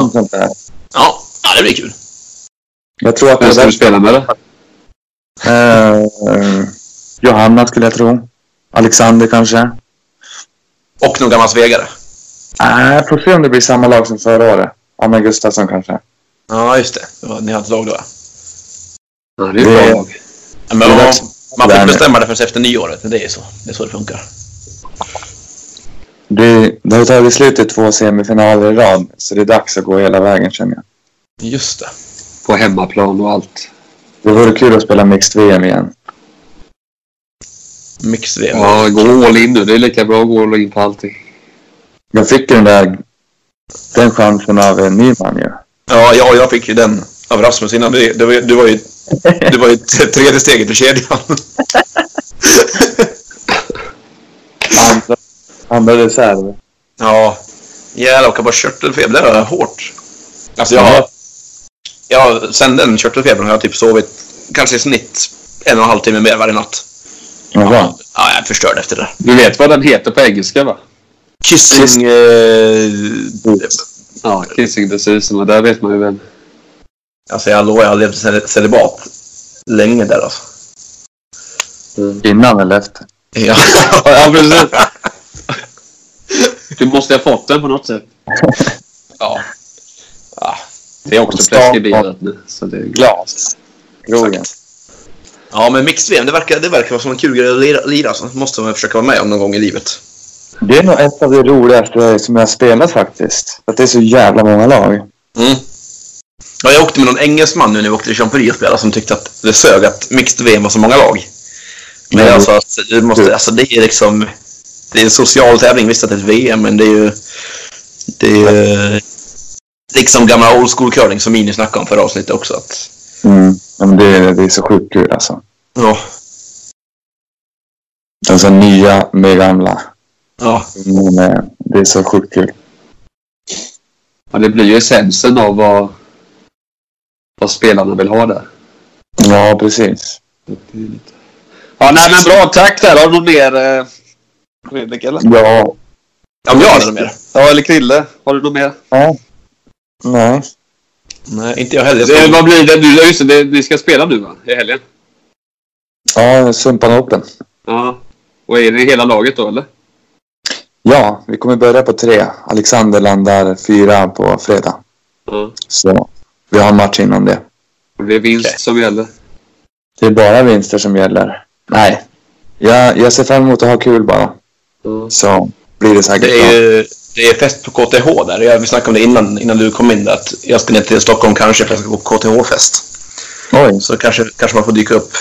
Speaker 7: något sånt där.
Speaker 3: Ja. ja, det blir kul.
Speaker 7: Jag tror att
Speaker 2: Vem
Speaker 7: det
Speaker 2: ska du
Speaker 7: där...
Speaker 2: spela med då?
Speaker 7: Eh, eh, Johanna skulle jag tro. Alexander kanske.
Speaker 3: Och någon gammal svegare.
Speaker 7: Nej, Eh, får se om det blir samma lag som förra året. Anna Gustafsson kanske.
Speaker 3: Ja, just det. det var, ni har ett lag då, ja.
Speaker 2: Ja, det är ju bra
Speaker 7: Det-
Speaker 2: lag.
Speaker 3: Ja, Men
Speaker 7: Det är
Speaker 3: man,
Speaker 7: dags.
Speaker 3: man får
Speaker 7: Där
Speaker 3: inte
Speaker 7: nu.
Speaker 3: bestämma det förrän efter nyåret. Det är så det, är så det funkar.
Speaker 7: Det, det har tagit slut i två semifinaler i rad, så det är dags att gå hela vägen känner jag.
Speaker 3: Just det.
Speaker 2: På hemmaplan och allt.
Speaker 7: Det vore kul att spela mixed VM igen.
Speaker 3: Mixed VM.
Speaker 2: Ja, gå all in nu. Det är lika bra att gå all in på allting.
Speaker 7: Jag fick ju den där den chansen av en ny man ju.
Speaker 3: Ja, ja, jag fick ju den av Rasmus innan. Du, du, var ju- du, var, ju, du var ju t- tredje steget i kedjan.
Speaker 7: Andra, andra reserv.
Speaker 3: Ja. Jävlar, åka på körtelfeber. Det var hårt. Alltså jag... jag sen den körtelfebern har jag typ sovit kanske i snitt en och en halv timme mer varje natt.
Speaker 7: Jaha.
Speaker 3: Ja, jag är förstörd efter det.
Speaker 2: Du vet vad den heter på engelska va?
Speaker 3: Kissing... Eh,
Speaker 2: Ja, kissing disease. Men där vet man ju vem.
Speaker 3: alltså jag lovar, jag har levt cel- celibat länge där alltså.
Speaker 7: Innan eller efter?
Speaker 3: Ja.
Speaker 2: (laughs) Ja, precis. Du måste ha fått den på något sätt.
Speaker 3: (laughs) ja.
Speaker 2: Det är också preskriberat nu. Så det är glad.
Speaker 7: Glas. Rogen.
Speaker 3: ja, men mixed VM, det verkar, det verkar vara som en kul grej att lira, lira alltså. Måste man försöka vara med om någon gång i livet.
Speaker 7: Det är nog ett av de roligaste som jag har spelat faktiskt. För att det är så jävla många lag.
Speaker 3: Mm. Ja, jag åkte med någon engelsman nu när vi åkte till Champery och spelade som tyckte att det sög att mixed VM var så många lag. Men
Speaker 7: Nej.
Speaker 3: alltså, att du måste, alltså det är liksom... Det är en social tävling, visst att det är ett VM, men det är ju... Det är ju eh, liksom gamla old school curling som Mini snackade om förra avsnittet också. Att,
Speaker 7: Mm. Ja, Men det, är, det är så sjukt kul alltså.
Speaker 3: ja,
Speaker 7: Alltså nya med gamla.
Speaker 3: ja,
Speaker 7: Men, eh, det är så sjukt kul.
Speaker 2: Ja, det blir ju essensen av vad, vad spelarna vill ha där.
Speaker 7: Ja, precis.
Speaker 2: Ja, nej men bra. Tack där. Har du något mer? Eh, Fredrik eller?
Speaker 7: Ja.
Speaker 3: ja men jag hade något mer.
Speaker 2: Ja, eller Krille. Har du något mer?
Speaker 7: Nej. Nej.
Speaker 3: Nej, inte jag heller. Jag
Speaker 2: Det,
Speaker 3: ska-
Speaker 2: Eh, vad blir det nu? Ja, Just det, det, ni ska spela nu va? I helgen?
Speaker 7: Ja, Sumpan Open.
Speaker 2: Ja. Och är det hela laget då eller?
Speaker 7: Ja, vi kommer börja på tre. Alexander landar fyra på fredag.
Speaker 2: Ja.
Speaker 7: Så vi har en match innan det.
Speaker 2: Och det är vinst
Speaker 3: Okej.
Speaker 2: som gäller.
Speaker 7: Det är bara vinster som gäller. Nej. Jag, jag ser fram emot att ha kul bara. Så blir det säkert
Speaker 3: Det är,
Speaker 7: bra.
Speaker 3: ju, det är fest på KTH där. Jag, vi snackade om det innan, innan du kom in där. Att jag ska ner till Stockholm kanske för att jag ska gå på KTH-fest.
Speaker 7: Oj.
Speaker 3: Så kanske, kanske man får dyka upp.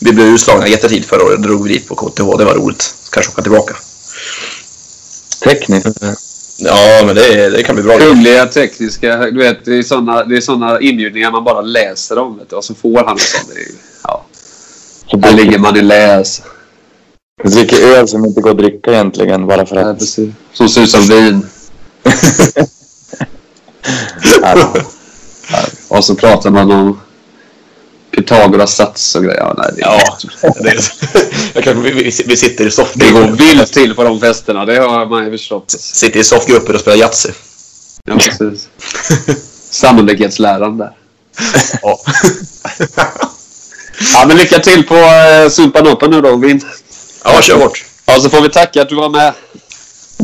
Speaker 3: Vi blev utslagna jättetid förra året. drog vi dit på KTH. Det var roligt. Så kanske åka tillbaka.
Speaker 7: Tekniskt.
Speaker 3: Ja, men det, det kan bli bra.
Speaker 2: Kungliga tekniska. Du vet, det är sådana det är såna inbjudningar man bara läser om. Vet du, och så får han en sån. Det är ju- Ja.
Speaker 7: Så
Speaker 2: Där
Speaker 7: dricker,
Speaker 2: ligger man i läs.
Speaker 7: dricker öl som inte går att dricka egentligen bara för
Speaker 2: Ja,
Speaker 7: att...
Speaker 2: precis. Som ser ut som vin.
Speaker 7: Alltså,
Speaker 2: Och så pratar man om Pythagoras sats och grejer. Ja, nej, det,
Speaker 3: Ja, det är, (laughs) jag kan, vi, vi, vi sitter i soft,
Speaker 2: det går vilt till på de festerna. Det har man ju förstått.
Speaker 3: sitter i soffgrupper och spelar Yatzy.
Speaker 2: Ja, (laughs) precis. Sannolikhetsläran där.
Speaker 3: (laughs) Ja.
Speaker 2: Ja, men lycka till på eh, Sumpan Open nu då, Vin.
Speaker 3: ja, kör hårt.
Speaker 2: Ja, så får vi tacka att du var med.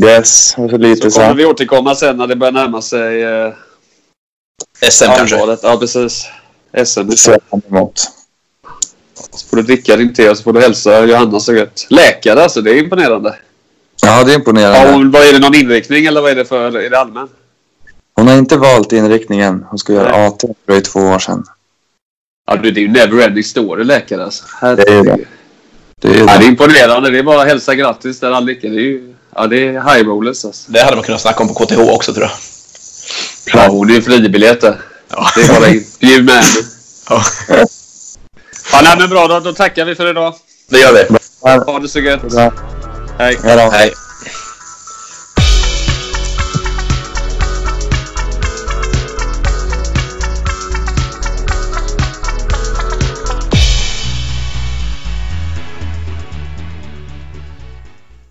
Speaker 7: yes, och så lite
Speaker 2: Så
Speaker 7: så.
Speaker 2: kommer
Speaker 7: här.
Speaker 2: vi återkomma sen när det börjar närma sig eh,
Speaker 3: SM kanske.
Speaker 2: allvaret. Ja, precis. SM.
Speaker 7: Det ser jag fram emot.
Speaker 2: Så får du dricka din te och så får du hälsa Johanna så gött. Läkare alltså, det är imponerande.
Speaker 7: Ja, det är
Speaker 2: Ja,
Speaker 7: imponerande.
Speaker 2: och vad är det någon inriktning eller vad är det för? Är det allmän?
Speaker 7: Hon har inte valt inriktningen. Hon ska göra AT för det är två år sedan.
Speaker 2: Ja, du, det är ju neverending story läkare alltså. Här,
Speaker 7: Det är det. Det är
Speaker 2: Ja, det
Speaker 7: det.
Speaker 2: är imponerande. Det är bara att hälsa grattis där all lycka. Det är ju... Ja, det är high rollers alltså.
Speaker 3: Det hade man kunnat snacka om på KTH också tror jag.
Speaker 2: Ja, hon är ju fribiljett där.
Speaker 3: Ja.
Speaker 2: Det är bara in. Bjud med henne.
Speaker 3: Ja,
Speaker 2: Ja, nej, men bra. Då, då tackar vi för idag.
Speaker 3: det gör vi.
Speaker 2: Ha det så gött.
Speaker 7: Ja.
Speaker 2: Hej.
Speaker 7: Ja, då.
Speaker 3: Hej.